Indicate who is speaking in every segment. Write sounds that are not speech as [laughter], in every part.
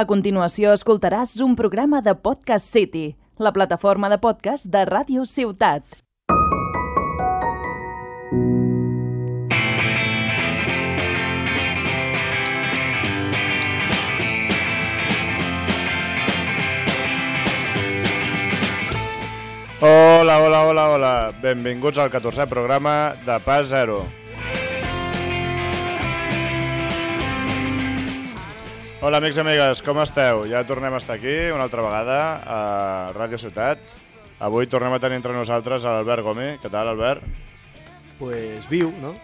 Speaker 1: A continuació escoltaràs un programa de Podcast City, la plataforma de podcast de Ràdio Ciutat.
Speaker 2: Hola, hola, hola, hola. Benvinguts al 14è programa de Pas Zero. Hola, amics i amigues, com esteu? Ja tornem a estar aquí una altra vegada a Ràdio Ciutat. Avui tornem a tenir entre nosaltres a l'Albert Gomi. Què tal, Albert?
Speaker 3: Pues viu, no?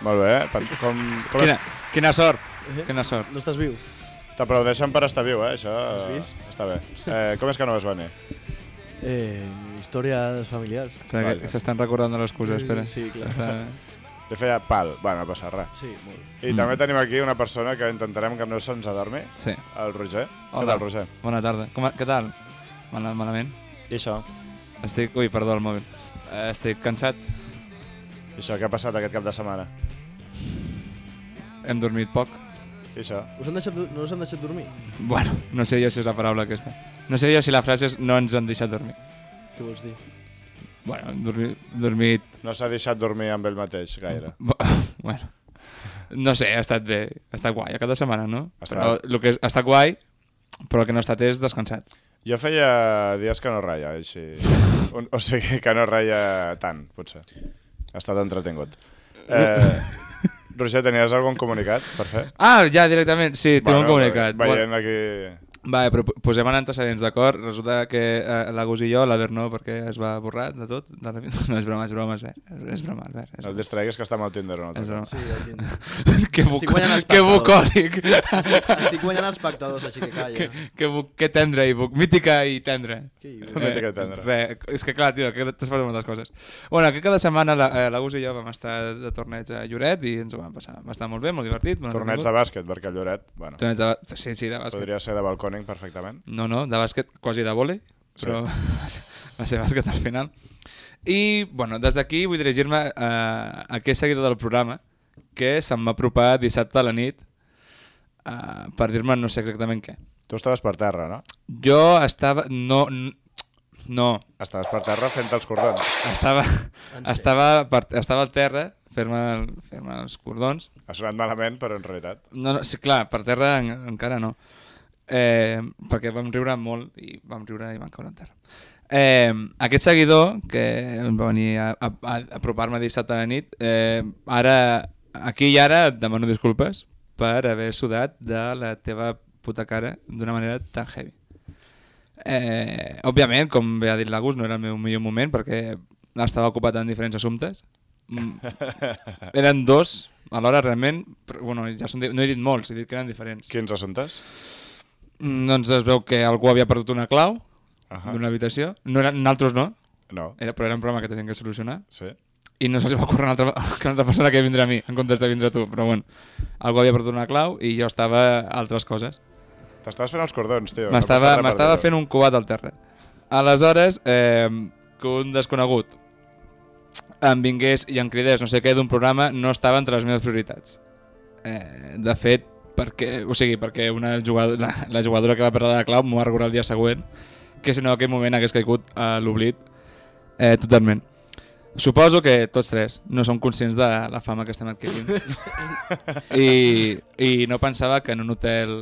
Speaker 2: Molt bé. Per- Com, com
Speaker 4: Quina,
Speaker 2: es-
Speaker 4: quina sort,
Speaker 3: Eh?
Speaker 4: quina sort.
Speaker 3: No estàs viu.
Speaker 2: T'aplaudeixen per estar viu, eh? Això
Speaker 3: Has vist?
Speaker 2: està bé. Eh, com és que no vas venir?
Speaker 3: Eh, històries familiars.
Speaker 4: Espera,
Speaker 2: Vaja.
Speaker 4: que s'estan recordant de les coses, espera.
Speaker 3: Sí, clar.
Speaker 4: Està...
Speaker 2: Li feia pal. Bueno, no passa res.
Speaker 3: Sí, molt.
Speaker 2: I
Speaker 4: Mm.
Speaker 2: també tenim aquí una persona que intentarem que no se'ns adormi,
Speaker 4: Sí.
Speaker 2: el Roger. Què
Speaker 4: Hola.
Speaker 2: tal, Roger?
Speaker 4: Bona tarda. Com, què tal? Mal, malament?
Speaker 2: I això?
Speaker 4: Estic... Ui, perdó, el mòbil. Eh, Estic cansat.
Speaker 2: I això, què ha passat aquest cap de setmana?
Speaker 4: Hem dormit poc.
Speaker 2: I això?
Speaker 3: Us han deixat, du- no us han deixat dormir?
Speaker 4: Bueno, no sé jo si és la paraula aquesta. No sé jo si la frase és no ens han deixat dormir.
Speaker 3: Què vols dir?
Speaker 4: Bueno, hem dormit... dormit...
Speaker 2: No s'ha deixat dormir amb ell mateix gaire.
Speaker 4: Mm. [laughs] Bueno. No sé, ha estat bé. Ha estat guai aquesta setmana, no?
Speaker 2: Ha estat-
Speaker 4: Però el que és, ha estat guai, però el que no ha estat és descansat.
Speaker 2: Jo feia dies que no reia, així. Un, o sigui, que no reia tant, potser. Ha estat entretingut.
Speaker 4: [laughs]
Speaker 2: Eh, Roger, tenies algun comunicat per fer?
Speaker 4: Ah, ja, directament. Sí, tinc un comunicat.
Speaker 2: Veient aquí...
Speaker 4: Va, però po- posem en antecedents, d'acord? Resulta que eh, l'Agus i jo, l'Albert no, perquè es va borrar de tot. De la... vida. [laughs] No, és broma, és broma, és, ver- és broma, Albert. És
Speaker 2: No et
Speaker 4: broma.
Speaker 2: distraiguis que està amb el Tinder. No?
Speaker 4: És broma.
Speaker 3: Sí, el Tinder.
Speaker 4: [laughs] que,
Speaker 3: Estic
Speaker 4: buco...
Speaker 3: guanyant
Speaker 4: que
Speaker 2: [laughs]
Speaker 3: espectadors.
Speaker 4: bucòlic.
Speaker 3: Estic, estic guanyant espectadors, així que calla.
Speaker 4: que, que, bu... que tendre i buc. Mítica i tendre.
Speaker 3: Què dius?
Speaker 2: Mítica i tendre.
Speaker 4: Re, és que clar, tio, que t'has perdut moltes coses. Bueno, que cada setmana la- eh, l'Agus i jo vam estar de torneig a Lloret i ens ho vam passar. Va estar molt bé, molt divertit. molt
Speaker 2: Torneig de
Speaker 4: entretingut.
Speaker 2: bàsquet, perquè el Lloret, bueno,
Speaker 4: Torneig de... ba- Sí, sí, de bàsquet.
Speaker 2: podria ser de balconing perfectament.
Speaker 4: No, no, de bàsquet, quasi de vòlei,
Speaker 2: Sí.
Speaker 4: però [laughs] sí. va ser bàsquet al final. I, bueno, des d'aquí vull dirigir-me a, a aquell seguidor del programa que se'm va apropar dissabte a la nit uh, per dir-me no sé exactament què.
Speaker 2: Tu estaves per terra, no?
Speaker 4: Jo estava... No, n- no,
Speaker 2: Estaves per terra fent els cordons.
Speaker 4: estava, estava, per, estava al terra fer-me el, fer els cordons
Speaker 2: Ha sonat malament, però en realitat.
Speaker 4: No, no, sí, clar, per terra en, encara no. Eh, perquè vam riure molt i vam riure i vam caure en terra. Eh, aquest seguidor, que em va venir a, a, a apropar-me dissabte a la nit, eh, ara, aquí i ara et demano disculpes per haver sudat de la teva puta cara d'una manera tan heavy. Eh, òbviament, com bé ha dit l'Agus, no era el meu millor moment perquè estava ocupat en diferents assumptes. Mm, eren dos, alhora realment, però, bueno, ja són, di- no he dit molts, he dit que eren diferents.
Speaker 2: Quins assumptes?
Speaker 4: Mm, doncs es veu que algú havia perdut una clau
Speaker 2: Ahà.
Speaker 4: d'una habitació, no eren, nosaltres no,
Speaker 2: No.
Speaker 4: era, però era un problema que tenien que solucionar,
Speaker 2: Sí.
Speaker 4: i no se'ls va ocórrer una altra, [laughs] que una altra persona que vindrà a mi, en comptes de vindre a tu, però bueno, algú havia perdut una clau i jo estava a altres coses.
Speaker 2: T'estaves fent els cordons, tio.
Speaker 4: M'estava m'estava fent un cubat al terra. Aleshores, eh, que un desconegut em vingués i em cridés no sé què d'un programa no estava entre les meves prioritats. Eh, de fet, perquè, o sigui, perquè una jugadora, la, la jugadora que va perdre la clau m'ho va recordar el dia següent, que si no en aquell moment hagués caigut a l'oblit eh, totalment. Suposo que tots tres no som conscients de la fama que estem adquirint. I, I no pensava que en un hotel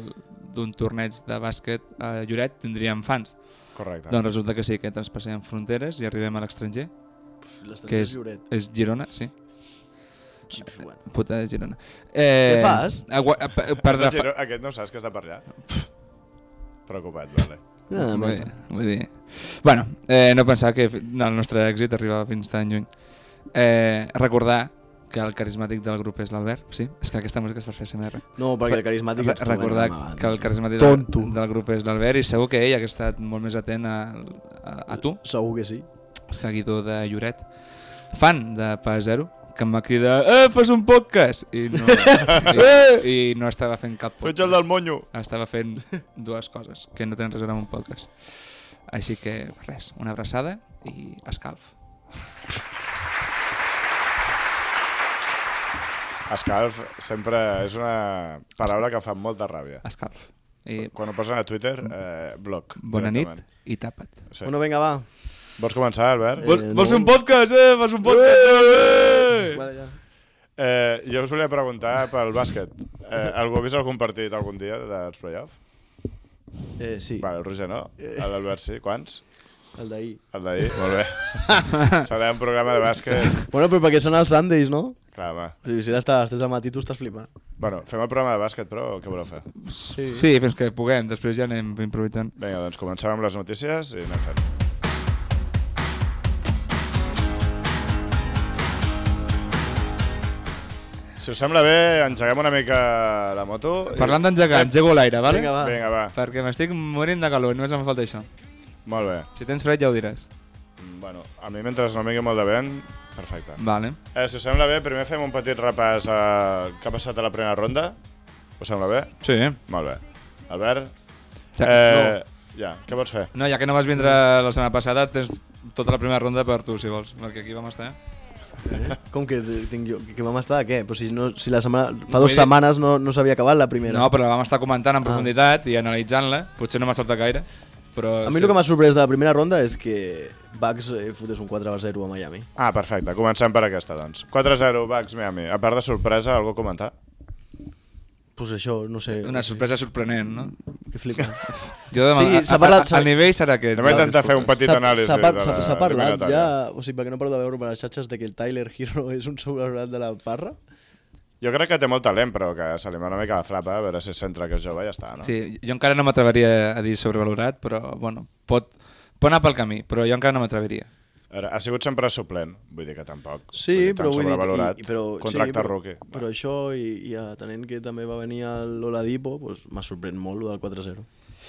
Speaker 4: d'un torneig de bàsquet a Lloret tindríem fans.
Speaker 2: Correcte.
Speaker 4: Doncs resulta que sí, que traspassem fronteres i arribem a l'extranger, que
Speaker 3: L'estranger
Speaker 4: és,
Speaker 3: és Lloret.
Speaker 4: és Girona, sí.
Speaker 3: Sí, bueno.
Speaker 4: Puta de Girona.
Speaker 3: Què
Speaker 4: Eh,
Speaker 3: fas?
Speaker 4: Agua, a, per, per
Speaker 2: Saps,
Speaker 4: refa-
Speaker 2: Giro, aquest no saps que està per allà? Preocupat, vale.
Speaker 3: Ah,
Speaker 4: vull,
Speaker 3: mata.
Speaker 4: vull dir... Bueno, eh, no pensava que fi- el nostre èxit arribava fins tan lluny. Eh, recordar que el carismàtic del grup és l'Albert, sí? És que aquesta música es per fer SMR.
Speaker 3: no, perquè el
Speaker 4: Ah,
Speaker 3: carismàtic ets tu,
Speaker 4: recordar
Speaker 3: eh, home,
Speaker 4: que el carismàtic del,
Speaker 3: Tonto.
Speaker 4: del grup és l'Albert i segur que ell ha estat molt més atent a, a, a tu,
Speaker 3: Segur que sí.
Speaker 4: seguidor de Lloret, fan de Pa Zero, que em va cridar eh, fas un podcast! I [laughs] no, i, i no estava fent cap
Speaker 2: Tu
Speaker 4: podcast.
Speaker 2: ets el del monyo!
Speaker 4: Estava fent dues coses que no tenen res a veure amb un podcast. Així que res, una abraçada i escalf.
Speaker 2: Escalf sempre és una paraula que fa molta ràbia.
Speaker 4: Ah, Escalf. I
Speaker 2: Quan ho posen a Twitter, eh, bloc.
Speaker 4: bona nit
Speaker 2: directament.
Speaker 4: i tapa't.
Speaker 2: Sí.
Speaker 3: Sí. Bueno, vinga, va.
Speaker 2: Vols començar, Albert?
Speaker 4: Vols,
Speaker 3: no.
Speaker 4: vols fer un podcast, eh? Vols un podcast? Eh!
Speaker 3: Vale, ja.
Speaker 2: Eh, jo us volia preguntar pel bàsquet. Eh, algú ha vist algun partit algun dia dels playoff?
Speaker 3: Eh, sí,
Speaker 2: Vale, el Roger no. L'Albert sí. Quants?
Speaker 3: el d'ahir.
Speaker 2: El d'ahir? Molt bé. Serà un programa de bàsquet.
Speaker 3: Bueno, però perquè són els Sundays, no?
Speaker 2: Clar, home.
Speaker 3: O sigui, si ara estàs 3 del matí, tu estàs flipant.
Speaker 2: Bueno, fem el programa de bàsquet, però o què voleu fer?
Speaker 3: Sí.
Speaker 4: Sí, fins que puguem, després ja anem improvisant.
Speaker 2: Vinga, doncs comencem amb les notícies i anem fent. Si us sembla bé, engeguem una mica la moto. i-
Speaker 4: Parlant d'engegar, engego a l'aire, vale?
Speaker 3: Eh, Vinga, va.
Speaker 2: Vinga, va.
Speaker 4: Perquè m'estic morint de calor, només em falta això.
Speaker 2: Molt bé.
Speaker 4: Si tens fred ja ho diràs.
Speaker 2: Mm, Bueno, a mi mentre no vingui molt de vent, perfecte.
Speaker 4: Vale.
Speaker 2: Eh, si us sembla bé, primer fem un petit repàs a... que ha passat a la primera ronda. Us sembla bé?
Speaker 4: Sí.
Speaker 2: Molt bé. Albert?
Speaker 4: Ja,
Speaker 2: eh, Ja, què vols fer?
Speaker 4: No, ja que no vas vindre la setmana passada, tens tota la primera ronda per tu, si vols. Perquè aquí vam estar. eh?
Speaker 3: Com que tinc jo? Que vam estar, què? Però si, no, si la setmana... Fa dues
Speaker 4: Vull dir-
Speaker 3: setmanes no, no s'havia acabat la primera.
Speaker 4: No, però la vam estar comentant en
Speaker 3: Ah.
Speaker 4: profunditat i analitzant-la. Potser no m'ha saltat gaire, però...
Speaker 3: A mi el que m'ha sorprès de la primera ronda és que Bucks eh, fotés un 4 a 0 a Miami.
Speaker 2: Ah, perfecte. Comencem per aquesta, doncs. 4-0, Bucks, Miami. A part de sorpresa, algú a comentar?
Speaker 3: Pues això, no sé...
Speaker 4: Una sorpresa sorprenent, no?
Speaker 3: Que flipa.
Speaker 4: Jo demà,
Speaker 3: Sí,
Speaker 4: sí,
Speaker 3: s'ha parlat-
Speaker 4: el nivell serà aquest.
Speaker 2: Anem a intentar
Speaker 3: disculpes.
Speaker 2: fer un petit
Speaker 3: S'ha-
Speaker 2: anàlisi.
Speaker 3: S'ha par
Speaker 2: de la
Speaker 3: s'ha
Speaker 2: primera
Speaker 3: parlat
Speaker 2: etapa.
Speaker 3: ja, o sigui, perquè no paro de veure per les xatxes de que el Tyler Hero [laughs] és un sobrevalorat de la parra.
Speaker 2: Jo crec que té molt talent, però que se li va una mica la flapa, a veure si es centra que és jove i ja està, no?
Speaker 4: Sí, jo encara no m'atreveria a dir sobrevalorat, però bueno, pot, pot anar pel camí, però jo encara no m'atreveria.
Speaker 2: A veure, Ha sigut sempre suplent, vull dir que tampoc.
Speaker 3: Sí,
Speaker 2: tan
Speaker 3: però vull dir...
Speaker 2: sobrevalorat.
Speaker 3: i- i- però,
Speaker 2: Contracte
Speaker 3: sí, però,
Speaker 2: rookie.
Speaker 3: Però això, i, i atenent que també va venir a l'Oladipo, doncs m'ha sorprès molt el del 4-0.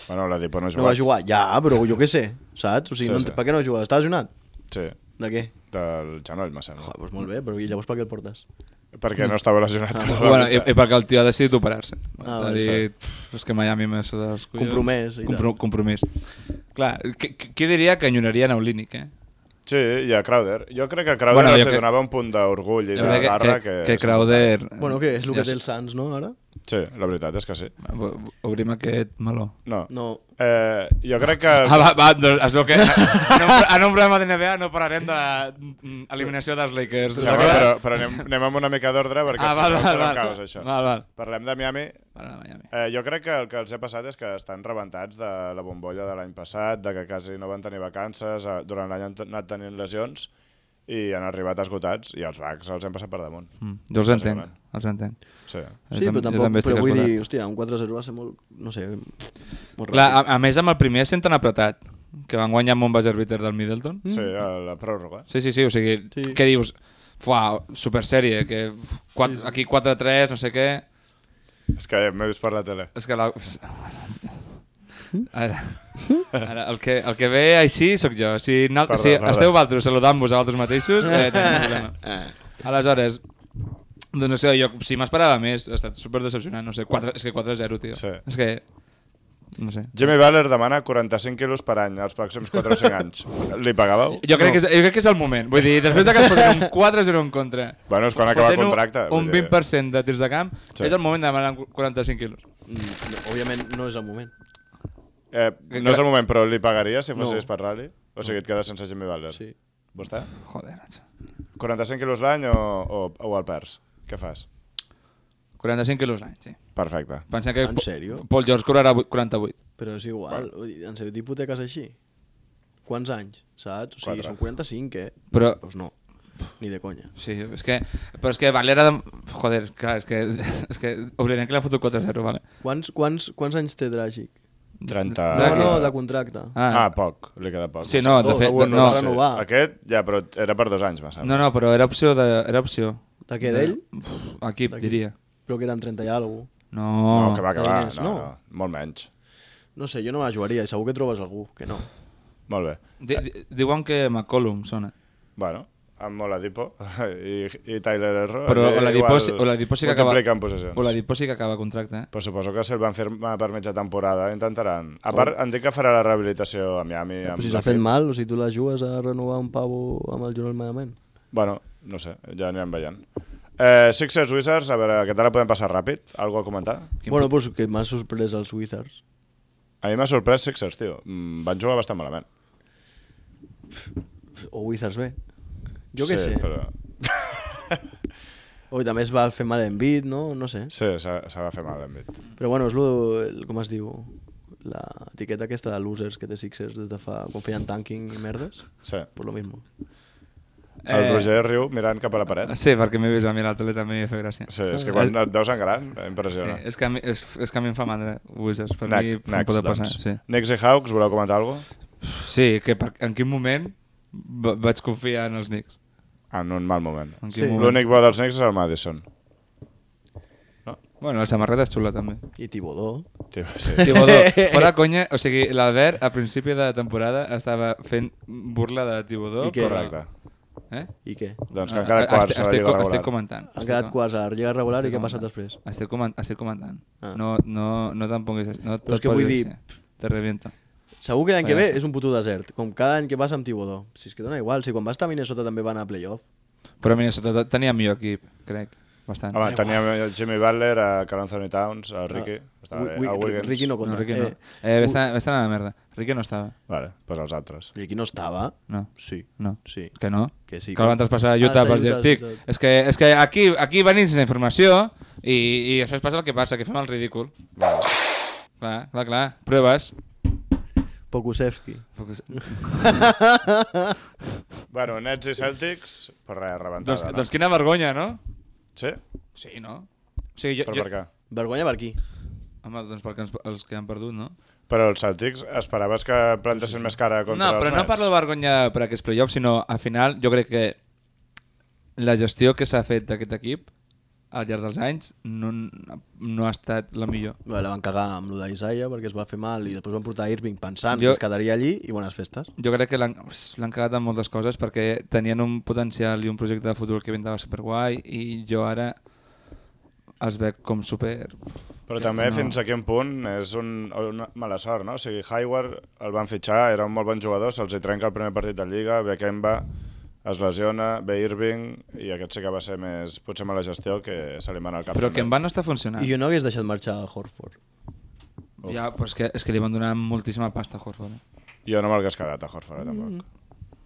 Speaker 2: Bueno, la Dipo no ha
Speaker 3: No va
Speaker 2: jugat.
Speaker 3: jugar, ja, però jo què sé, saps? O sigui,
Speaker 2: Sí,
Speaker 3: no,
Speaker 2: sí.
Speaker 3: sí. per què no juga? Està lesionat?
Speaker 2: Sí,
Speaker 3: De què?
Speaker 2: del genoll, me sembla.
Speaker 3: Joder, doncs molt bé, però i llavors per què el portes?
Speaker 2: Perquè no estava lesionat. quan va
Speaker 4: Ah, bueno, eh, i,
Speaker 2: fitxar.
Speaker 4: i perquè el tio ha decidit operar-se.
Speaker 3: Ah,
Speaker 4: ha
Speaker 3: vale,
Speaker 4: dit, "Pff, és que Miami m'ha sudat els collons.
Speaker 3: Compromès i
Speaker 4: Compro, compromís. Clar, qui- qui qui diria que enyorarien a Olínic, eh?
Speaker 2: Sí, i a Crowder. Jo crec que a Crowder
Speaker 4: Bueno,
Speaker 2: bueno,
Speaker 4: jo
Speaker 2: se
Speaker 4: que-
Speaker 2: donava un punt d'orgull i
Speaker 4: Jo
Speaker 2: de
Speaker 4: crec
Speaker 2: garra
Speaker 4: que,
Speaker 2: que...
Speaker 4: que Crowder...
Speaker 3: Bueno, què? És el
Speaker 4: Eh, Ja
Speaker 3: que té
Speaker 4: sé.
Speaker 3: el Sants, no, ara?
Speaker 2: Sí, la veritat és que sí.
Speaker 4: Ob- Obrim aquest meló.
Speaker 2: No.
Speaker 3: No.
Speaker 2: Eh, jo crec que...
Speaker 4: Ah, va, va, doncs es veu que [laughs] en un, en un programa de NBA no parlarem de mm, eliminació dels Lakers.
Speaker 2: Sí, home, però, però
Speaker 4: [laughs]
Speaker 2: anem, anem amb una mica d'ordre perquè
Speaker 4: ah,
Speaker 2: si
Speaker 4: val,
Speaker 2: no
Speaker 4: val,
Speaker 2: serà
Speaker 4: val.
Speaker 2: un caos, això.
Speaker 4: Val, val.
Speaker 2: Parlem de Miami.
Speaker 4: Val, val, Miami.
Speaker 2: Eh, jo crec que el que els ha passat és que estan rebentats de la bombolla de l'any passat, de que quasi no van tenir vacances, eh, durant l'any han t- anat tenint lesions i han arribat esgotats i els Bucks els hem passat per damunt.
Speaker 4: Mm, jo els entenc,
Speaker 2: Bàsicament.
Speaker 4: els entenc.
Speaker 2: Sí.
Speaker 4: Jo
Speaker 3: Sí,
Speaker 4: tam-
Speaker 3: però
Speaker 4: jo
Speaker 3: tampoc,
Speaker 4: estic
Speaker 3: però vull
Speaker 4: esgotat.
Speaker 3: dir, hòstia, un 4-0 va ser molt, no sé, molt
Speaker 4: Clar, a,
Speaker 3: ràpid.
Speaker 4: a més amb el primer senten apretat, que van guanyar amb un buzzer beater del Middleton.
Speaker 2: Sí, a la pròrroga.
Speaker 4: Sí, sí, sí, o sigui, sí.
Speaker 3: Sí.
Speaker 4: què dius? Fuà, supersèrie, que f- quat, sí, sí. aquí 4-3, no sé què...
Speaker 2: És que m'he vist per la tele.
Speaker 4: És que la... Ara, ara el, que, el que ve així sóc jo. Si, no,
Speaker 2: Perdó,
Speaker 4: si
Speaker 2: perdó.
Speaker 4: esteu vosaltres saludant-vos a vosaltres mateixos, eh, tenim un problema. Aleshores, doncs no sé, jo si m'esperava més, ha estat super decepcionant, no sé, 4, és que 4-0, tio.
Speaker 2: Sí.
Speaker 4: És que... No sé.
Speaker 2: Jimmy Butler demana 45 quilos per any els pròxims 4 o
Speaker 4: [laughs]
Speaker 2: 5 anys. Li pagàveu?
Speaker 4: Jo crec, no. que és, jo crec que és el moment. Vull dir, després de que et
Speaker 2: [laughs]
Speaker 4: fotin un 4-0 en contra,
Speaker 2: Bueno, és quan acaba el
Speaker 4: fotent un-
Speaker 2: contracte.
Speaker 4: un
Speaker 2: vull dir.
Speaker 4: 20% de tirs de camp,
Speaker 2: Sí.
Speaker 4: sí. és el moment de demanar 45 quilos.
Speaker 3: Mm, no, òbviament no és el moment.
Speaker 2: Eh, no és el moment, però li pagaria si fossis
Speaker 3: No.
Speaker 2: per rally? O sigui, et quedes sense Jimmy Butler.
Speaker 3: Sí.
Speaker 2: Vostè?
Speaker 4: Joder, Nacho.
Speaker 2: 45 quilos l'any o, o, o el perds? Què fas?
Speaker 4: 45 quilos l'any, sí.
Speaker 2: Perfecte.
Speaker 4: Pensa que
Speaker 3: En
Speaker 4: Po-
Speaker 3: sèrio?
Speaker 4: Paul George cobrarà vuit- 48.
Speaker 3: Però és igual, bueno. en sèrio, t'hipoteques així? Quants anys, saps? O sigui,
Speaker 2: Quatre.
Speaker 3: són 45, eh?
Speaker 4: Però-
Speaker 3: Doncs no, ni de conya.
Speaker 4: Sí, és que... Però és que Valera... De... Joder, és clar, és que... [laughs] És que oblidem que l'ha fotut 4-0, vale?
Speaker 3: Quants, quants, quants anys té Dragic?
Speaker 2: 30...
Speaker 4: Ah,
Speaker 3: No,
Speaker 4: aquí.
Speaker 3: no, de contracte.
Speaker 2: Ah,
Speaker 4: Ah,
Speaker 2: poc. Li queda poc.
Speaker 4: Sí, no, de
Speaker 2: O
Speaker 4: fet,
Speaker 2: un,
Speaker 4: no.
Speaker 2: sé.
Speaker 3: Renovar.
Speaker 2: Aquest, ja, però era per dos anys, me sembla.
Speaker 4: no, no, però era opció de... Era opció.
Speaker 3: De què, d'ell?
Speaker 4: Pff, Equip,
Speaker 3: D'equip.
Speaker 4: diria.
Speaker 3: Però que eren 30 i alguna
Speaker 4: No.
Speaker 2: no que va, que
Speaker 3: De
Speaker 2: va.
Speaker 3: diners,
Speaker 2: No, no.
Speaker 3: no.
Speaker 2: Molt menys.
Speaker 3: No sé, jo no me la jugaria i segur que trobes algú que no.
Speaker 2: Molt bé.
Speaker 4: Di- di- Diuen que McCollum sona.
Speaker 2: Bueno, amb Oladipo [laughs] i, i Tyler Erro.
Speaker 4: Però
Speaker 2: eh,
Speaker 4: Oladipo
Speaker 2: igual
Speaker 4: sí- Oladipo sí que acaba-
Speaker 2: Multipliquen possessions.
Speaker 4: Oladipo sí que acaba contracte, eh?
Speaker 2: Però suposo que se'l van firmar per mitja temporada, eh, intentaran. A part, em dic que farà la rehabilitació a Miami. amb
Speaker 3: Oh. Però si
Speaker 2: la
Speaker 3: s'ha fet
Speaker 2: fi-
Speaker 3: mal, o sigui, tu la jugues a renovar un pavo amb el jornal malament.
Speaker 2: Bueno, no sé, ja anirem veient. Eh, Sixers Wizards, a veure, què tal la podem passar ràpid? Algú a comentar?
Speaker 4: Quin
Speaker 3: bueno, doncs que m'ha sorprès els Wizards.
Speaker 2: A mi m'ha sorprès Sixers, tio. Mm, Van jugar bastant malament.
Speaker 3: O Wizards bé. Jo què
Speaker 2: sí,
Speaker 3: sé.
Speaker 2: Però...
Speaker 3: Oi, també es va fer mal en bit, no? No sé.
Speaker 2: Sí, s'ha s'ha de fer mal, l'envit.
Speaker 3: Però bueno, és lo, el, com es diu, la etiqueta aquesta de losers que té Sixers des de fa... quan feien tanking i merdes.
Speaker 2: Sí.
Speaker 3: Pues lo mismo.
Speaker 2: El
Speaker 4: Eh,
Speaker 2: Roger riu mirant cap a la paret.
Speaker 4: Sí, perquè m'he vist a mi la tele també i fa gràcia. Eh,
Speaker 2: Sí, és que quan et veus en gran, impressiona.
Speaker 4: Sí, és que, a mi, és, és que a mi em fa mandra Wizards, per
Speaker 2: Next,
Speaker 4: mi em
Speaker 2: next,
Speaker 4: pot passar.
Speaker 2: doncs.
Speaker 4: Sí.
Speaker 2: Knicks i Hawks, voleu comentar alguna cosa?
Speaker 4: sí, que per, en quin moment va- vaig confiar en els Knicks?
Speaker 2: En un mal moment.
Speaker 4: En
Speaker 2: Sí.
Speaker 4: quin moment?
Speaker 2: L'únic bo dels Knicks és el Madison.
Speaker 4: Bueno, la samarreta és xula també.
Speaker 3: I Tibodó.
Speaker 2: Tio, sí.
Speaker 4: Tibodó,
Speaker 2: [laughs]
Speaker 4: fora conya, o sigui, l'Albert a principi de temporada estava fent burla de Tibodó.
Speaker 3: I què?
Speaker 4: però-
Speaker 2: Correcte.
Speaker 4: Eh?
Speaker 3: I què?
Speaker 2: Doncs que
Speaker 4: Ah,
Speaker 2: han quedat
Speaker 4: ah,
Speaker 2: quarts
Speaker 4: estic-
Speaker 2: a la
Speaker 4: estic
Speaker 2: Lliga
Speaker 4: co-
Speaker 2: regular.
Speaker 4: Estic comentant.
Speaker 3: Han quedat quarts a la Lliga regular i què ha passat després?
Speaker 4: Estic, comen estic comentant.
Speaker 3: Ah.
Speaker 4: No, no, no te'n ponguis... No
Speaker 3: Però és
Speaker 4: te'n
Speaker 3: que vull
Speaker 4: posis,
Speaker 3: dir-
Speaker 4: eh? Te reviento.
Speaker 3: Segur que l'any que
Speaker 4: Vaja.
Speaker 3: ve és un puto desert, com cada any que passa amb Tibodó. Si és que dona igual, si quan vas estar a Minnesota també van a playoff.
Speaker 4: Però Minnesota te- tenia millor equip, crec. Bastant.
Speaker 3: Ah,
Speaker 2: Home, teníem el Jimmy Butler, eh, el Carl Anthony Towns, el Ricky, estava
Speaker 3: Wi-
Speaker 2: bé,
Speaker 3: Wi-
Speaker 2: el Wiggins...
Speaker 3: Ricky no
Speaker 4: no,
Speaker 3: compta.
Speaker 4: Ah, Ricky no.
Speaker 3: Eh,
Speaker 4: Eh,
Speaker 3: Wi-
Speaker 4: estan, estan a la merda. Ricky no estava.
Speaker 2: Vale, doncs els altres.
Speaker 3: Ricky no estava.
Speaker 4: No.
Speaker 3: Sí.
Speaker 4: No.
Speaker 3: Sí.
Speaker 4: Que no?
Speaker 3: Que sí,
Speaker 4: Que el van
Speaker 3: que-
Speaker 4: traspassar a
Speaker 3: Ah,
Speaker 4: Utah
Speaker 3: està
Speaker 4: per
Speaker 3: a
Speaker 4: Jeff
Speaker 3: Utah,
Speaker 4: Tick.
Speaker 3: Utah.
Speaker 4: És que, és que aquí, aquí venim sense informació i, i després passa el que passa, que fem el ridícul. Clar, clar, clar. Proves.
Speaker 3: Pokusevski.
Speaker 4: doncs,
Speaker 2: Bueno, Nets i Celtics, per res, rebentada.
Speaker 4: Doncs, doncs quina vergonya, no?
Speaker 2: Sí?
Speaker 4: Sí, no? O sigui, jo,
Speaker 2: Però
Speaker 4: jo,
Speaker 2: per què?
Speaker 3: [laughs] Vergonya per aquí.
Speaker 4: Home, doncs perquè ens, els que han perdut, no?
Speaker 2: Però els Celtics esperaves que plantessin més cara contra
Speaker 4: no, però
Speaker 2: els
Speaker 4: no parlo de vergonya per aquests playoffs, sinó al final jo crec que la gestió que s'ha fet d'aquest equip al llarg dels anys no, no ha estat la millor.
Speaker 3: Bé, la van cagar amb lo d'Isaiah perquè es va fer mal i després van portar Irving pensant
Speaker 4: Jo-
Speaker 3: jo... que es quedaria allí i bones festes.
Speaker 4: Jo crec que l'han l'han cagat en moltes coses perquè tenien un potencial i un projecte de futur que vindava superguai i jo ara els veig com super...
Speaker 2: Però també
Speaker 4: no.
Speaker 2: fins a quin punt és un, una mala sort, no? O sigui, Hayward el van fitxar, era un molt bon jugador, se'ls hi trenca el primer partit de Lliga, ve Kemba, es lesiona, ve Irving, i aquest sí que va ser més, potser mala gestió, que se li va anar al cap.
Speaker 4: Però
Speaker 2: també.
Speaker 4: que en van estar funcionant.
Speaker 3: I jo no hagués deixat marxar a Horford.
Speaker 4: Ja, però és, que, és que li van donar moltíssima pasta a Horford. eh?
Speaker 2: Jo no me'l hagués quedat a Horford, eh, tampoc.
Speaker 3: Mm.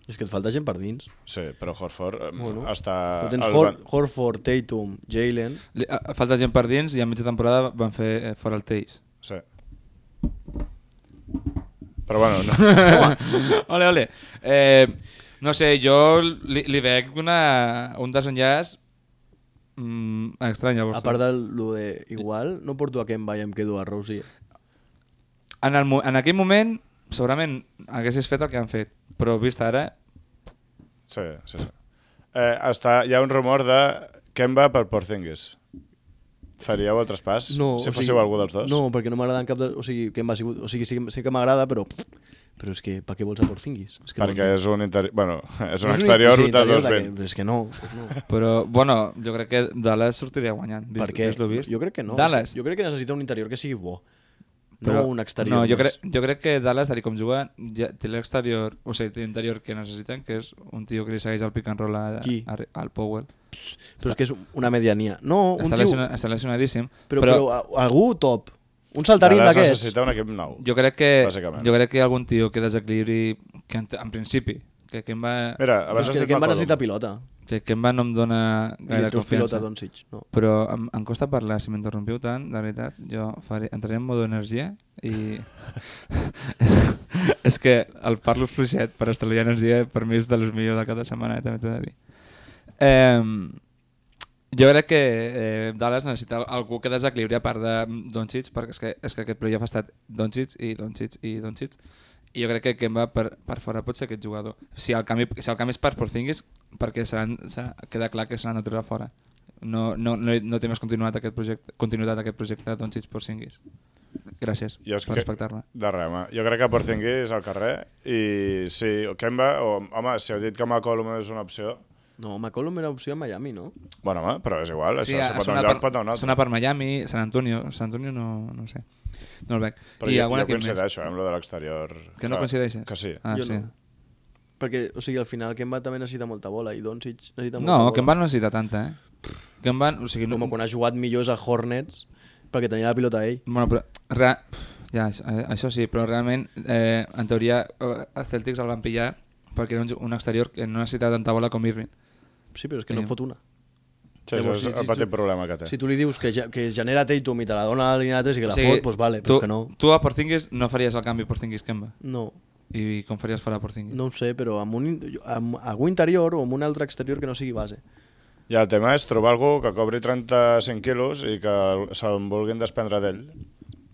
Speaker 3: És que et falta gent per dins.
Speaker 2: Sí, però Horford bueno,
Speaker 3: Bueno,
Speaker 2: està...
Speaker 3: no tens
Speaker 2: Ah, el
Speaker 3: Hor
Speaker 2: van-
Speaker 3: Horford, Tatum, Jalen...
Speaker 4: Li, a- falta gent per dins i a mitja temporada van fer eh, fora el Teix.
Speaker 2: Sí. Però bueno,
Speaker 3: [laughs]
Speaker 2: no.
Speaker 4: ole, ole. Eh, no sé, jo li, li veig una, un desenllaç mm, estrany. Llavors.
Speaker 3: A part de lo de igual, no porto a Kemba i em quedo a Rosie.
Speaker 4: en, el, mo- en aquell moment, segurament haguessis fet el que han fet, però vist ara...
Speaker 2: sí, sí, sí. Eh, està, hi ha un rumor de Kemba per Porzingis. Faríeu el traspàs? si fóssiu algú dels dos?
Speaker 3: No, perquè no m'agraden cap de... O sigui, Kemba ha sigut... O sigui, sí, que- sí que m'agrada, però... Però és que, per què vols a Porzingis? És que
Speaker 2: Perquè
Speaker 3: no,
Speaker 2: és un interior... Bueno, [laughs] és un
Speaker 3: No
Speaker 2: exterior
Speaker 3: sí,
Speaker 2: de
Speaker 3: interior
Speaker 2: 220.
Speaker 3: que- És que no. és
Speaker 2: [laughs]
Speaker 3: no.
Speaker 4: Però, bueno, jo crec que Dallas sortiria guanyant. Vist,
Speaker 3: per què?
Speaker 4: vist lo vist.
Speaker 3: Jo crec que no.
Speaker 4: Dallas.
Speaker 3: És que- Jo crec que necessita un interior que sigui bo. No
Speaker 4: Però-
Speaker 3: un exterior.
Speaker 4: No, jo,
Speaker 3: més.
Speaker 4: crec, jo crec que Dallas, tal i com juga, ja té l'exterior, o sigui, té l'interior que necessiten, que és un tio que li segueix el pick and roll a,
Speaker 3: Qui?
Speaker 4: a, al Powell.
Speaker 3: Però és que és una mediania. No, un
Speaker 4: Està,
Speaker 3: tio...
Speaker 4: lesiona, està lesionadíssim.
Speaker 3: Però, però, a- algú top. Un saltarín
Speaker 2: Dallas
Speaker 3: d'aquests.
Speaker 2: necessita un equip nou.
Speaker 4: Jo crec que,
Speaker 2: Bàsicament.
Speaker 4: jo crec que hi ha algun tio que desequilibri, que en, en principi, que Kemba,
Speaker 2: Mira,
Speaker 3: Però
Speaker 2: abans
Speaker 3: és
Speaker 2: has
Speaker 3: que
Speaker 2: dit
Speaker 3: el Kemba
Speaker 2: McCollum.
Speaker 3: necessita pilota.
Speaker 4: que Kemba no em dóna
Speaker 3: I li
Speaker 4: gaire
Speaker 3: treus pilota
Speaker 4: confiança.
Speaker 3: a Doncic. No.
Speaker 4: Però em, em costa parlar, si m'interrompiu tant, la veritat, jo faré, entraré en modo energia i... [laughs] és que el parlo fluixet per estalviar energia per mi és de los millors de cada setmana, eh, també t'he de dir. Eh, jo crec que eh, Dallas necessita algú que desequilibri a part de Doncic, perquè és que, és que aquest playoff ha estat Doncic i Doncic i Doncic, i jo crec que Kemba per, per fora pot ser aquest jugador. Si el canvi, si el canvi és per Porzingis, perquè seran, serà, queda clar que se l'han de treure fora. No, no, no, hi- no té més continuïtat aquest projecte, continuïtat aquest projecte Doncic Porzingis. Gràcies
Speaker 2: Jo és
Speaker 4: per
Speaker 2: que-
Speaker 4: respectar-me.
Speaker 2: De res, home. Jo crec que Porzingis al carrer i si Kemba, o, home, si heu dit que McCollum és una opció,
Speaker 3: No, McCollum era opció a Miami, no?
Speaker 2: bueno, home, però és igual, això s'ho pot a
Speaker 4: sona
Speaker 2: un lloc, pot a un altre.
Speaker 4: sona per Miami, San Antonio, San Antonio no, no ho sé, no el veig.
Speaker 2: Però
Speaker 4: I
Speaker 2: jo,
Speaker 4: algun
Speaker 2: jo
Speaker 4: equip més?
Speaker 2: coincideixo, eh, amb lo de l'exterior.
Speaker 4: Que no
Speaker 2: Ah,
Speaker 4: coincideixes?
Speaker 2: Que sí.
Speaker 4: Ah,
Speaker 3: Jo
Speaker 4: sí.
Speaker 3: no. Perquè, o sigui, al final Kemba també necessita molta bola i Doncic necessita molta
Speaker 4: No,
Speaker 3: bola.
Speaker 4: que en van no necessita tanta, eh? Que en van, o sigui, no,
Speaker 3: Com quan ha jugat millor és a Hornets perquè tenia la pilota ell.
Speaker 4: Bueno, però re, Ja, això, eh, això sí, però realment, eh, en teoria, eh, els Celtics el van pillar perquè era un, ju- un exterior que no necessitava tanta bola com Irving.
Speaker 3: Sí, però és que no
Speaker 4: Sí.
Speaker 3: fot una.
Speaker 2: Sí, això
Speaker 3: Llavors,
Speaker 2: és
Speaker 3: si- si
Speaker 2: el petit
Speaker 3: tu-
Speaker 2: problema que té.
Speaker 3: Si tu li dius que, ja, que genera Tatum i te la dona a la línia de 3 i que la fot, doncs vale,
Speaker 4: tu,
Speaker 3: però és que no.
Speaker 4: Tu a Porzingis no faries el canvi Porzingis-Kemba.
Speaker 3: No,
Speaker 4: I com faries fora Porzingis?
Speaker 3: no ho sé, però amb, un, in- amb algú interior o amb un altre exterior que no sigui base.
Speaker 2: I el tema és trobar algú que cobri 35 quilos i que se'n vulguin desprendre d'ell.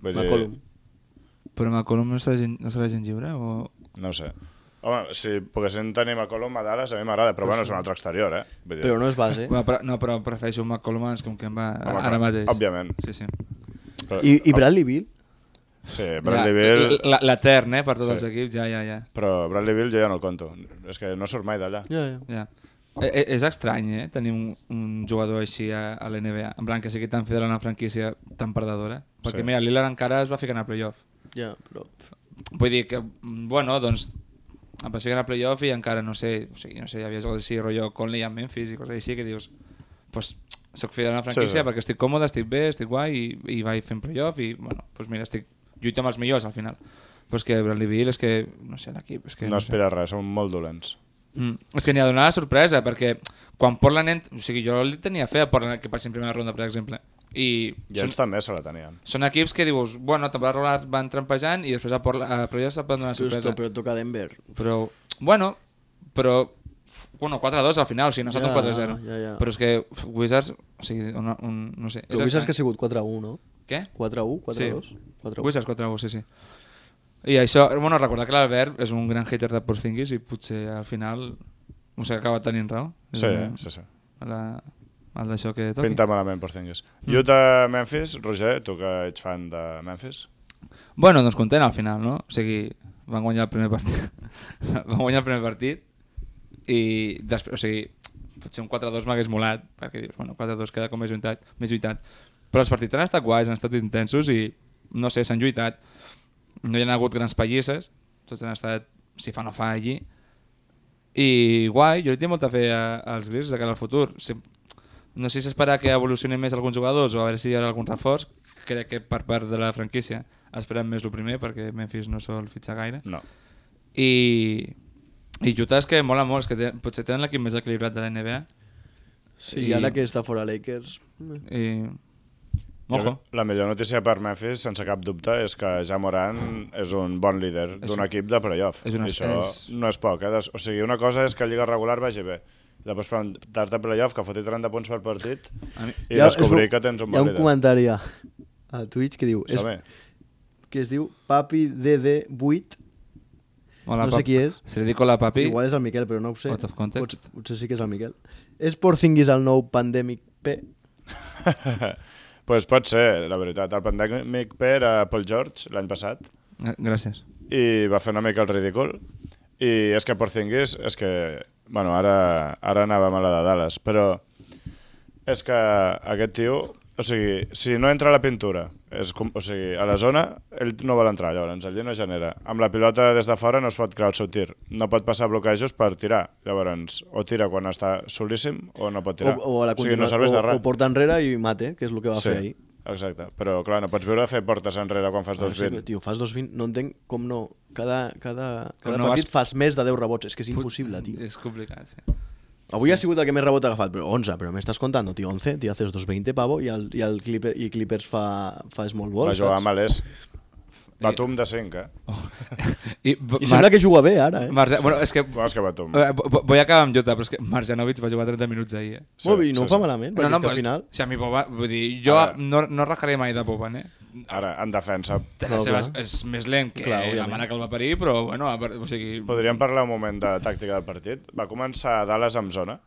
Speaker 2: Vull dir,
Speaker 3: McCollum.
Speaker 4: Però McCollum no serà gent, no serà gent lliure? O...
Speaker 2: No ho sé. Home, si poguessin tenir McCollum a Dallas, a mi m'agrada, però bueno, és un altre exterior, eh? Vull dir,
Speaker 3: Però no és base.
Speaker 4: Va, però, no, però prefereixo un McCollum abans que un Kemba
Speaker 2: Home,
Speaker 4: ara
Speaker 2: clar,
Speaker 4: mateix.
Speaker 2: òbviament.
Speaker 4: Sí, sí.
Speaker 2: però-
Speaker 3: I, I Bradley Bill?
Speaker 2: Sí, Bradley Bill...
Speaker 4: La- la- L'etern, eh, per tots
Speaker 2: Sí.
Speaker 4: sí. els equips, ja, ja, ja.
Speaker 2: Però Bradley Bill jo ja no el conto. És que no surt mai d'allà.
Speaker 3: Ja, ja.
Speaker 4: ja. E -e és estrany, eh, tenir un, un jugador així a, a l'NBA, en plan que sigui tan fidel a una franquícia tan perdedora. Perquè
Speaker 2: Sí.
Speaker 4: sí. mira, Lillard encara es va ficant a playoff.
Speaker 3: ja però...
Speaker 4: Vull dir que, mm, bueno, doncs em vas ficant a playoff i encara no sé, o sigui, no sé, hi havia jugadors així, rotllo Conley a Memphis i coses així que dius, pues, soc fidel a una franquícia
Speaker 2: Sí, sí.
Speaker 4: perquè estic còmode, estic bé, estic guai i, i vaig fent playoff i, bueno, pues mira, estic lluito amb els millors al final. Però és que Bradley Beal és que, no sé, l'equip... és que
Speaker 2: No
Speaker 4: sé.
Speaker 2: espera res, són molt dolents.
Speaker 4: Mm. És que n'hi ha donat la sorpresa, perquè quan Portland... ent- O sigui, jo li tenia fe a Portland que passi en primera ronda, per exemple. I
Speaker 2: I ells també se la tenien.
Speaker 4: són equips que dius, bueno, temporada regular van trampejant i després a Portland... Però ja se'n van donar
Speaker 3: Justo,
Speaker 4: sorpresa.
Speaker 3: però toca Denver.
Speaker 4: Però, bueno, però... f- Bueno, 4-2 al final, o sigui, no ha estat
Speaker 3: Ja,
Speaker 4: un 4-0.
Speaker 3: ja, ja.
Speaker 4: Però és que f- Wizards, o sigui, un, un, no sé...
Speaker 3: Tu saps que ha
Speaker 4: estrany.
Speaker 3: sigut 4-1, no?
Speaker 4: Què?
Speaker 3: 4-1, 4-2?
Speaker 4: Sí.
Speaker 3: 4-1.
Speaker 4: Wizards 4-1, sí, sí. I això, bueno, recordar que l'Albert és un gran hater de Porzingis i potser al final no sé, acaba tenint raó. És
Speaker 2: Sí,
Speaker 4: una-
Speaker 2: sí, sí.
Speaker 4: la, el d'això que toqui.
Speaker 2: Pinta malament per Zingis. Utah, Memphis, Roger, tu que ets fan de Memphis.
Speaker 4: Bueno, doncs content al final, no? O sigui, van guanyar el primer partit. [laughs] van guanyar el primer partit i després, o sigui, potser un 4-2 m'hagués molat, perquè dius, bueno, 4-2 queda com més lluitat, més lluitat. Però els partits han estat guais, han estat intensos i, no sé, s'han lluitat. No hi ha hagut grans pallisses, tots han estat, si fa no fa, allí. I guai, jo li tinc molta fe a- als Grizzlies de cara al futur. Si, no sé si esperar que evolucionin més alguns jugadors o a veure si hi haurà algun reforç. Crec que per part de la franquícia esperem més el primer perquè Memphis no sol fitxar gaire.
Speaker 2: No.
Speaker 4: I, i Utah és que mola molt, és que té, potser tenen l'equip més equilibrat de la NBA.
Speaker 3: Sí, I ara que està fora Lakers... eh.
Speaker 4: I... Mojo.
Speaker 2: La millor notícia per Memphis, sense cap dubte, és que ja Morant és un bon líder d'un
Speaker 4: un-
Speaker 2: equip de playoff.
Speaker 4: és una-
Speaker 2: I això
Speaker 4: és-
Speaker 2: no és poc. Eh? Des- O sigui, una cosa és que a Lliga regular vagi bé. I després plantar-te a playoff, que foti 30 punts per partit,
Speaker 4: A
Speaker 2: i
Speaker 3: Ja,
Speaker 4: mi-
Speaker 2: ja,
Speaker 3: és
Speaker 2: descobrir
Speaker 3: bo-
Speaker 2: que tens un
Speaker 3: Hi ha
Speaker 2: bon
Speaker 3: un
Speaker 2: líder.
Speaker 3: comentari a, a Twitch que diu... És,
Speaker 2: Sabe?
Speaker 3: que es diu PapiDD8.
Speaker 4: Hola,
Speaker 3: no sé
Speaker 4: Pap.
Speaker 3: qui és.
Speaker 4: Si li dic hola, papi...
Speaker 3: Igual és el Miquel, però no ho sé.
Speaker 4: Out of context.
Speaker 3: Potser, potser sí que és el Miquel. És Porzingis el nou Pandemic P?
Speaker 2: [laughs] pues pot ser, la veritat. El pandèmic per a Paul George l'any passat
Speaker 4: Gr- Eh, Gràcies.
Speaker 2: i va fer una mica el ridícul. I és que Porzingis, és que... Bueno, ara, ara anàvem a la de Dallas, però és que aquest tio, o sigui, si no entra a la pintura, és com, o sigui, a la zona, ell no vol entrar, llavors, allí no genera. Amb la pilota des de fora no es pot crear el seu tir, no pot passar bloquejos per tirar, llavors, o tira quan està solíssim o no pot
Speaker 3: O,
Speaker 2: tirar.
Speaker 3: o, a la
Speaker 2: o sigui, no
Speaker 3: continua-
Speaker 2: serveix de
Speaker 3: o,
Speaker 2: res.
Speaker 3: o porta enrere i mate, que és el que va fer ahir.
Speaker 2: Exacte, però clar, no pots veure fer portes enrere quan fas
Speaker 3: No
Speaker 2: dos
Speaker 3: sé, però,
Speaker 2: vint.
Speaker 3: tio, fas 2-20, no entenc com no. Cada, cada, cada
Speaker 4: no
Speaker 3: partit
Speaker 4: vas-
Speaker 3: fas més de 10 rebots, és que és impossible, tio.
Speaker 4: És complicat, sí.
Speaker 3: Avui ha sigut el que més rebot ha agafat, però 11, però m'estàs contant, tio, 11, tio, haces 2-20, pavo, i el, i el Clipper, i Clippers fa, fa small ball.
Speaker 2: Va jugar
Speaker 3: saps?
Speaker 2: amb l'Es. Batum de 5, eh?
Speaker 4: Oh. [laughs] I,
Speaker 3: I sembla que juga bé ara, eh?
Speaker 4: Marge... Bueno, és que...
Speaker 2: Bueno, és que Batum.
Speaker 4: Eh, vo- vo- Vull acabar amb Jota, però és que Marjanovic va jugar 30 minuts ahir, eh?
Speaker 2: Sí,
Speaker 3: Molt bé, i
Speaker 2: sí,
Speaker 3: no ho fa
Speaker 2: sí.
Speaker 3: malament, perquè és que al
Speaker 4: però-
Speaker 3: final...
Speaker 4: Si a mi Boban, vull dir, jo
Speaker 2: Ara-
Speaker 4: no, no rajaré mai de Boban, eh?
Speaker 2: Ara, en defensa.
Speaker 4: Té
Speaker 3: Clar,
Speaker 4: les seves,
Speaker 3: clar.
Speaker 4: és més lent que
Speaker 3: Clar,
Speaker 4: clar, la
Speaker 3: òbviament.
Speaker 4: mare que el va parir, però bueno, a part- o sigui...
Speaker 2: Podríem parlar un moment de tàctica del partit. Va començar a Dallas amb zona.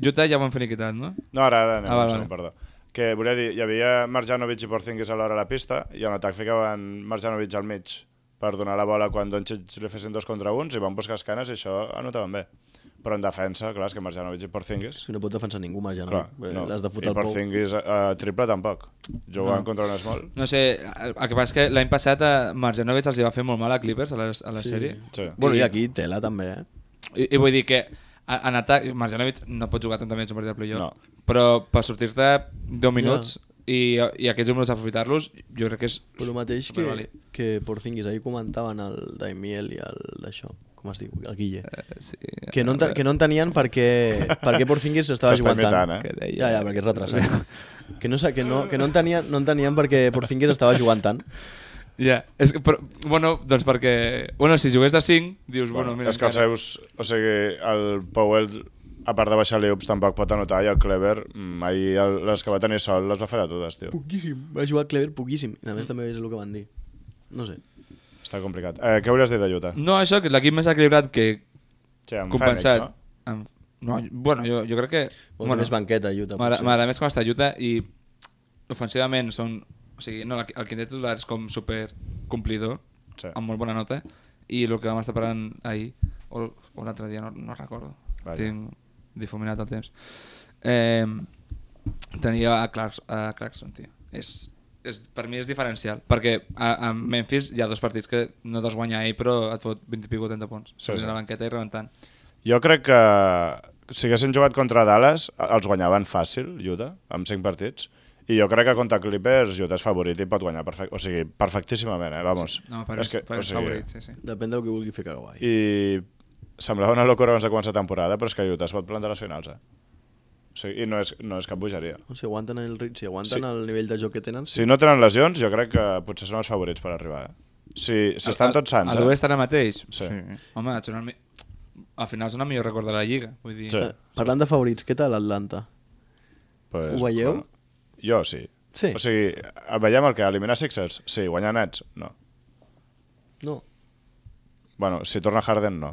Speaker 4: Jota ja ho han finiquitat, no?
Speaker 2: No, ara, ara anem,
Speaker 4: Ah,
Speaker 2: ah,
Speaker 4: val,
Speaker 2: zona,
Speaker 4: vale.
Speaker 2: perdó. Que volia dir, hi havia Marjanovic i Porzingis alhora a la pista i en atac ficaven Marjanovic al mig per donar la bola quan Doncic li fessin dos contra uns i van buscar escanes i això anotaven bé. Però en defensa, clar, és que Marjanovic i Porzingis...
Speaker 3: Si no pot defensar ningú, Marge, no?
Speaker 2: Clar,
Speaker 3: no.
Speaker 2: no.
Speaker 3: L'has de
Speaker 2: I
Speaker 3: fotre al pou.
Speaker 2: Porzingis a, a triple tampoc. Jugant
Speaker 4: No.
Speaker 2: no. contra un small.
Speaker 4: No sé, el el que passa és que l'any passat a Marjanovic els hi va fer molt mal a Clippers, a la, a la
Speaker 3: Sí.
Speaker 4: sí. sèrie.
Speaker 2: Sí.
Speaker 3: Bueno, i aquí tela també, eh?
Speaker 4: I, I vull dir que a- en atac, Marjanovic no pot jugar 30 minuts un partit de playoff,
Speaker 2: No.
Speaker 4: però per sortir-te 10 minuts...
Speaker 3: Ja.
Speaker 4: i, i aquests números aprofitar-los jo crec que és
Speaker 3: Però el mateix que,
Speaker 4: supervàlid.
Speaker 3: que Porzingis, ahir comentaven el Daimiel i el d'això, com es diu, el Guille,
Speaker 4: Eh, sí,
Speaker 3: que no, enten- que no entenien per què, per
Speaker 2: [laughs]
Speaker 3: què Porzingis estava
Speaker 2: T'està
Speaker 3: jugant tant.
Speaker 2: imitant, eh?
Speaker 4: Que deia-
Speaker 3: Ja, ja, perquè és retrasat. que no, sa- que no, que no, entenien, no entenien per què Porzingis estava jugant tant.
Speaker 4: [laughs] Ja, és que, però, bueno, doncs perquè... Bueno, si jugués de 5, dius, bueno,
Speaker 2: Bueno,
Speaker 4: mira...
Speaker 2: és que els
Speaker 4: encara.
Speaker 2: seus... O sigui, el Powell, a part de baixar l'Eups, tampoc pot anotar, i el Clever, mm, ahir el- les que va tenir sol les va fer de totes, tio.
Speaker 3: Poquíssim. Va jugar Clever poquíssim. I a més també és el que van dir. No sé.
Speaker 2: Està complicat. Eh, què volies dir de Utah?
Speaker 4: No, això, que és l'equip més equilibrat que
Speaker 2: Sí, amb
Speaker 4: Mm, compensat...
Speaker 2: Phoenix,
Speaker 4: Amb... No, bueno, jo, jo crec que...
Speaker 3: Bueno, més banqueta, Utah,
Speaker 4: m'agra-
Speaker 3: potser.
Speaker 4: M'agrada més com està Utah i ofensivament són... O sigui, no, el quintet titular és com super complidor,
Speaker 2: Sí.
Speaker 4: amb molt bona nota, i el que vam estar parlant ahir, o, o l'altre dia, no, no recordo.
Speaker 2: Vaja.
Speaker 4: Tinc difuminat el temps. Eh, tenia a, Clark, a Clarkson, tio. És, és, per mi és diferencial, perquè a, a Memphis hi ha dos partits que no t'has guanyat ell, però et fot 20 i pico 30 punts.
Speaker 2: Sí,
Speaker 4: Sí,
Speaker 2: sí.
Speaker 4: sí. la banqueta i rebentant.
Speaker 2: Jo crec que si haguessin jugat contra Dallas, els guanyaven fàcil, Utah, amb 5 partits. I jo crec que contra Clippers, Utah és favorit i pot guanyar perfect, o sigui, perfectíssimament, eh? Vamos.
Speaker 4: No, per,
Speaker 2: És
Speaker 4: és que, per
Speaker 2: o sigui,
Speaker 4: favorit, sí, sí.
Speaker 3: Depèn del que vulgui fer Kawhi.
Speaker 2: I semblava una locura abans de començar temporada, però és que Utah es pot plantar a les finals, eh? O sigui, I no és, no és cap bogeria.
Speaker 3: No, si aguanten, el, rit- si aguanten
Speaker 2: Sí.
Speaker 3: el nivell de joc que tenen...
Speaker 2: Si no tenen lesions, jo crec que potser són els favorits per arribar. Eh? Si, si estan tots
Speaker 4: A
Speaker 2: sants,
Speaker 4: l'Oest
Speaker 2: eh?
Speaker 4: ara mateix?
Speaker 2: Sí.
Speaker 4: Home, et sona el mi- al final és una millor record de la Lliga. Vull dir,
Speaker 2: Sí.
Speaker 3: Eh, Parlant de favorits, què tal Atlanta?
Speaker 2: Pues,
Speaker 3: Ho veieu?
Speaker 2: bueno, jo sí.
Speaker 3: Sí.
Speaker 2: O sigui, veiem el que eliminar Sixers? Sí, guanyar Nets? No.
Speaker 3: No.
Speaker 2: Bueno, si torna Harden, no.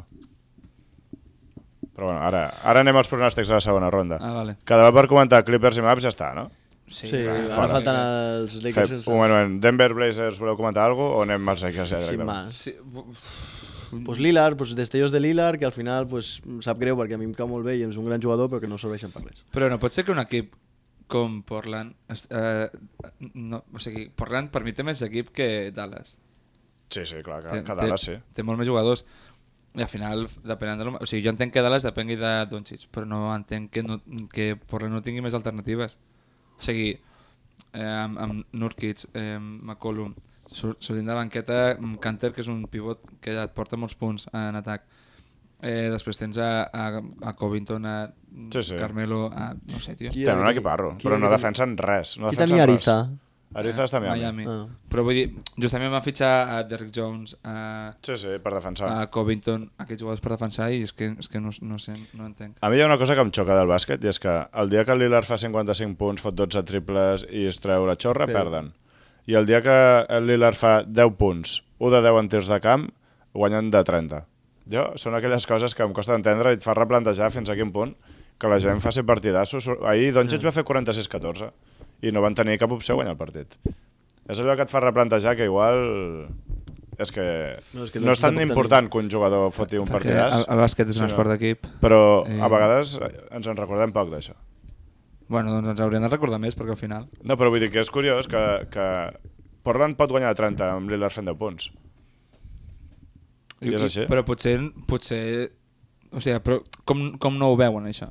Speaker 2: Però bueno, ara, ara anem als pronòstics de la segona ronda.
Speaker 4: Ah, vale.
Speaker 2: Quedava per comentar Clippers i Maps, ja està, no?
Speaker 3: Sí,
Speaker 4: clar,
Speaker 3: ara
Speaker 4: fora.
Speaker 3: falten els Lakers.
Speaker 2: Fem, un moment, un moment. Denver Blazers, voleu comentar alguna cosa o anem als Lakers ja
Speaker 3: Sin
Speaker 2: directament?
Speaker 3: más.
Speaker 4: Sí, bu-
Speaker 3: Pues Lillard, pues destellos de Lillard, que al final pues, em sap greu perquè a mi em cau molt bé i és un gran jugador, però que no serveixen per res.
Speaker 4: Però no pot ser que un equip com Portland... es- Eh, no, o sigui, Portland per mi té més equip que Dallas.
Speaker 2: Sí, sí, clar, que,
Speaker 4: Té,
Speaker 2: que Dallas sí.
Speaker 4: té, té molt més jugadors. I al final, depenen de... lo- O sigui, jo entenc que Dallas depengui de Doncic, però no entenc que, no, que Portland no tingui més alternatives. O sigui, eh, amb, amb Nurkic, eh, McCollum, sur- sortint de banqueta, mm, Canter, que és un pivot que ja et porta molts punts en atac. Eh, després tens a, a, a Covington, a
Speaker 2: Sí, sí.
Speaker 4: Carmelo, a, no sé, tio.
Speaker 3: Qui-
Speaker 2: Tenen un
Speaker 3: qui-
Speaker 2: equiparro,
Speaker 3: qui-
Speaker 2: però no
Speaker 3: qui-
Speaker 2: defensen res. No
Speaker 3: Qui
Speaker 2: defensen
Speaker 3: tenia
Speaker 2: res.
Speaker 3: Ariza?
Speaker 2: Ariza està a Miami.
Speaker 4: Miami.
Speaker 3: Ah.
Speaker 4: Però vull dir, justament van fitxar a Derrick Jones, a,
Speaker 2: Sí, sí, per defensar.
Speaker 3: Ah,
Speaker 4: a Covington, aquests jugadors per defensar i és que, és que no, no, sé, no entenc.
Speaker 2: A mi hi ha una cosa que em xoca del bàsquet i és que el dia que el Lillard fa 55 punts, fot 12 triples i es treu la xorra,
Speaker 3: Però-
Speaker 2: perden. I el dia que el Lillard fa 10 punts, 1 de 10 en tirs de camp, guanyen de 30. Jo, són aquelles coses que em costa entendre i et fa replantejar fins a quin punt que la gent faci partidassos. Ahir
Speaker 3: Mm.
Speaker 2: Doncic va fer 46-14 i no van tenir cap opció a guanyar el partit. És allò que et fa replantejar que igual... És que no,
Speaker 3: No, és que
Speaker 2: no és
Speaker 3: Doncic
Speaker 2: tan
Speaker 3: tampoc tenia-
Speaker 2: important que un jugador foti un
Speaker 4: Perquè
Speaker 2: partidàs.
Speaker 4: el, el bàsquet és
Speaker 2: sinó-
Speaker 4: un esport d'equip.
Speaker 2: però
Speaker 4: Eh.
Speaker 2: a vegades ens en recordem poc d'això.
Speaker 4: Bueno, doncs ens hauríem de recordar més perquè al final...
Speaker 2: No, però vull dir que és curiós que, que Portland pot guanyar 30 amb Lillard fent 10 punts. I és així.
Speaker 4: Però potser... potser o sigui, però com, com no ho veuen, això?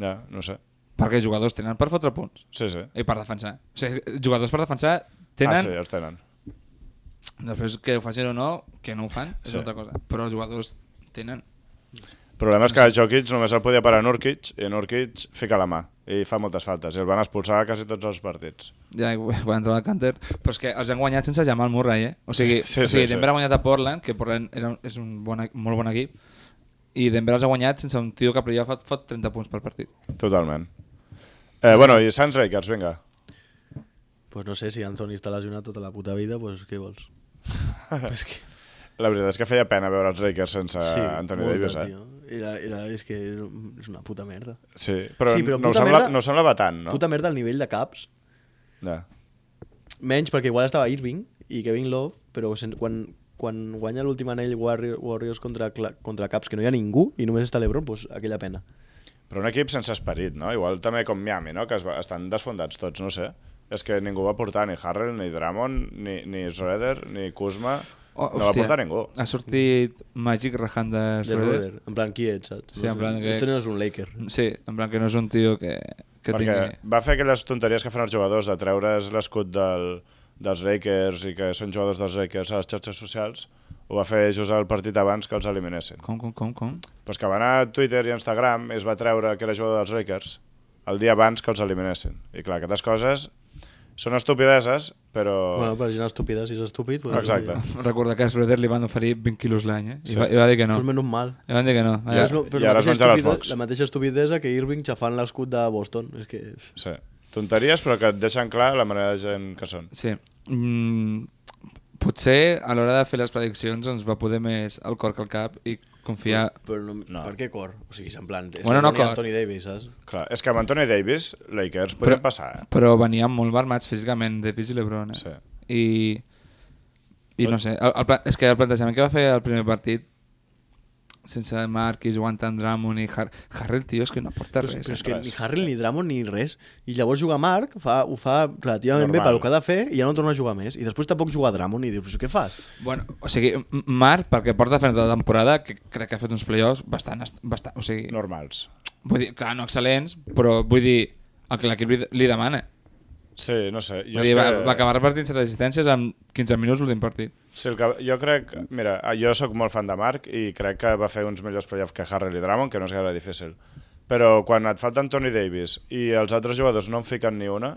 Speaker 2: Ja, no sé.
Speaker 4: Perquè els jugadors tenen per fotre punts
Speaker 2: Sí, sí.
Speaker 4: i per defensar. O sigui, jugadors per defensar
Speaker 2: Ah,
Speaker 4: tenen...
Speaker 2: sí, els tenen.
Speaker 4: Després que ho facin o no, que no ho fan, és
Speaker 2: Sí.
Speaker 4: una altra cosa. Però els jugadors tenen...
Speaker 2: El problema és que Jokic només el podia parar Nurkic i Nurkic fica la mà i fa moltes faltes i el van expulsar a quasi tots els partits.
Speaker 4: Ja, [laughs] i va entrar al Canter. Però és que els han guanyat sense Jamal Murray, eh? O sigui,
Speaker 2: Sí, sí,
Speaker 4: sí, o sigui
Speaker 2: sí,
Speaker 4: Denver
Speaker 2: sí.
Speaker 4: ha guanyat a Portland, que Portland era, un- és un bon, e- molt bon equip, i Denver els ha guanyat sense un tio que per allà fot, fot 30 punts per partit.
Speaker 2: Totalment. Eh, bueno, i Suns Lakers, vinga.
Speaker 3: Pues no sé, si Anthony està lesionat tota la puta vida, pues què
Speaker 2: [laughs]
Speaker 3: vols? és que...
Speaker 2: La veritat és que feia pena veure els Lakers sense sí, Anthony
Speaker 3: molta,
Speaker 2: Eh, Davis, eh?
Speaker 3: tio. Era, era, és que és una puta merda.
Speaker 2: Sí, però,
Speaker 3: Sí, però
Speaker 2: no, ho
Speaker 3: puta
Speaker 2: sembla,
Speaker 3: merda-
Speaker 2: no ho semblava tant,
Speaker 3: No.
Speaker 2: no?
Speaker 3: Puta merda al nivell de caps.
Speaker 2: Ja.
Speaker 3: Menys perquè igual estava Irving i Kevin Love, però sen- quan, quan guanya l'últim anell Warriors, Warriors contra, Cla- contra caps que no hi ha ningú i només està l'Ebron, doncs aquella pena.
Speaker 2: Però un equip sense esperit, no? Igual també com Miami, no? Que es va, estan desfondats tots, no sé. És que ningú va portar ni Harrell, ni Drummond, ni, ni Schroeder, ni Kuzma. Oh, no va portar ningú.
Speaker 4: Ha sortit Magic Rahan de
Speaker 3: De
Speaker 4: Schroeder.
Speaker 3: Schroeder. En plan, qui ets, saps?
Speaker 4: Sí, en plan que-
Speaker 3: Esto no és un Laker.
Speaker 4: Sí, en plan que no és un tio que, que
Speaker 2: perquè
Speaker 4: tingui...
Speaker 2: va fer aquelles tonteries que fan els jugadors de treure's l'escut del, dels Lakers i que són jugadors dels Lakers a les xarxes socials, ho va fer just al partit abans que els eliminessin.
Speaker 4: Com, com, com, com?
Speaker 2: Pues que va anar a Twitter i Instagram i es va treure que era jugador dels Lakers el dia abans que els eliminessin. I clar, aquestes coses són estupideses, però...
Speaker 3: Bueno, per gent estúpida, si és estúpid... Pues,
Speaker 4: [laughs]
Speaker 3: eh,
Speaker 2: Exacte.
Speaker 4: Recordo que a Schroeder li van oferir 20 quilos l'any, eh? I,
Speaker 2: Sí.
Speaker 4: va, I va dir que no.
Speaker 3: Pues menys mal.
Speaker 4: Li van dir que no.
Speaker 2: Ja.
Speaker 4: Vaya.
Speaker 3: és lo-
Speaker 2: i ara es menja les
Speaker 3: estupide-
Speaker 2: Fox.
Speaker 3: la mateixa estupidesa que Irving xafant l'escut de Boston. És que... és-
Speaker 2: Sí. Tonteries, però que et deixen clar la manera de gent que són.
Speaker 4: Sí. Mm, potser a l'hora de fer les prediccions ens va poder més el cor que el cap i confiar...
Speaker 3: Però no,
Speaker 2: No.
Speaker 3: no. per què cor? O sigui, és en plan... És
Speaker 4: Bueno, no
Speaker 3: Anthony-
Speaker 4: cor.
Speaker 3: Anthony Davis, saps?
Speaker 2: Clar, és que amb Anthony Davis, Lakers, podien passar, eh?
Speaker 4: Però venien molt armats físicament, Davis i Lebron. Eh?
Speaker 2: Sí.
Speaker 4: I, I no sé, el, el, pla- és que el plantejament que va fer el primer partit sense Marquis, Wantan Drummond i Har Harrell, tio, és que no aporta
Speaker 3: Però, és-
Speaker 4: res.
Speaker 3: però
Speaker 4: eh?
Speaker 3: és que
Speaker 2: res.
Speaker 3: ni Harrell ni Drummond ni res. I llavors jugar Marc fa, ho fa relativament Normal.
Speaker 2: Normal.
Speaker 3: bé pel que ha de fer i ja no torna a jugar més. I després tampoc jugar Drummond i dius, "Però què fas?
Speaker 4: Bueno, o sigui, M- Marc, perquè porta fent tota la temporada, que crec que ha fet uns playoffs bastant... est- bastant o sigui,
Speaker 2: Normals.
Speaker 4: vull dir, clar, no excel·lents, però vull dir, el que l'equip li, li demana.
Speaker 2: Sí, no sé. Jo és
Speaker 4: Vull dir, va,
Speaker 2: que...
Speaker 4: va acabar repartint 7 assistències en 15 minuts l'últim partit.
Speaker 2: Sí, el que, jo crec... Mira, ah, jo sóc molt fan de Marc i crec que va fer uns millors playoffs que Harrell i Drummond, que no és gaire difícil. Però quan et falta Anthony Davis i els altres jugadors no en fiquen ni una,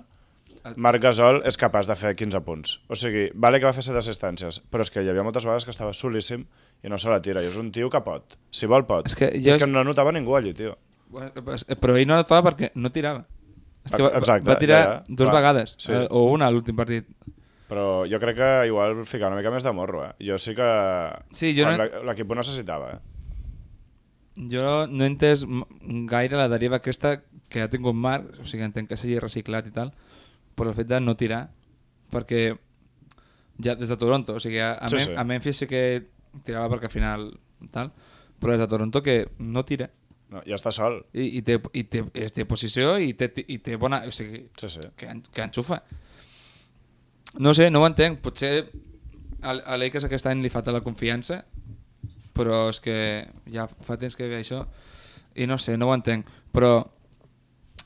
Speaker 2: Marc Gasol és capaç de fer 15 punts. O sigui, vale que va fer 7 assistències, però és que hi havia moltes vegades que estava solíssim i no se la tira. I és un tio que pot. Si vol, pot.
Speaker 4: És que
Speaker 2: I
Speaker 4: jo-
Speaker 2: és que no notava ningú allí, tio.
Speaker 4: Bueno, pues, eh, Però ell no notava perquè no tirava. És que va, va-
Speaker 2: Exacte,
Speaker 4: va tirar
Speaker 2: ja, ja,
Speaker 4: dos
Speaker 2: clar,
Speaker 4: vegades,
Speaker 2: sí.
Speaker 4: eh, o una a l'últim partit.
Speaker 2: Però jo crec que igual ficar una mica més de morro, eh? Jo sí que...
Speaker 4: Sí, jo
Speaker 2: quan
Speaker 4: no-
Speaker 2: l'e- L'equip ho necessitava, eh?
Speaker 4: Jo no he entès m- gaire la deriva aquesta que ha tingut Marc, o sigui, entenc que s'hagi reciclat i tal, però el fet de no tirar, perquè ja des de Toronto, o sigui, a, a,
Speaker 2: Sí,
Speaker 4: sí, Mem
Speaker 2: sí.
Speaker 4: sí. a Memphis sí que tirava perquè al final tal, però des de Toronto que no tira
Speaker 2: No, ja està sol.
Speaker 4: i, i, té, i té, és, té posició i té, i té bona... O sigui,
Speaker 2: Sí, sí.
Speaker 4: que, en, que enxufa. No sé, no ho entenc. Potser al- a l'Akers aquest any li falta la confiança, però és que ja fa temps que ve això i no sé, no ho entenc. Però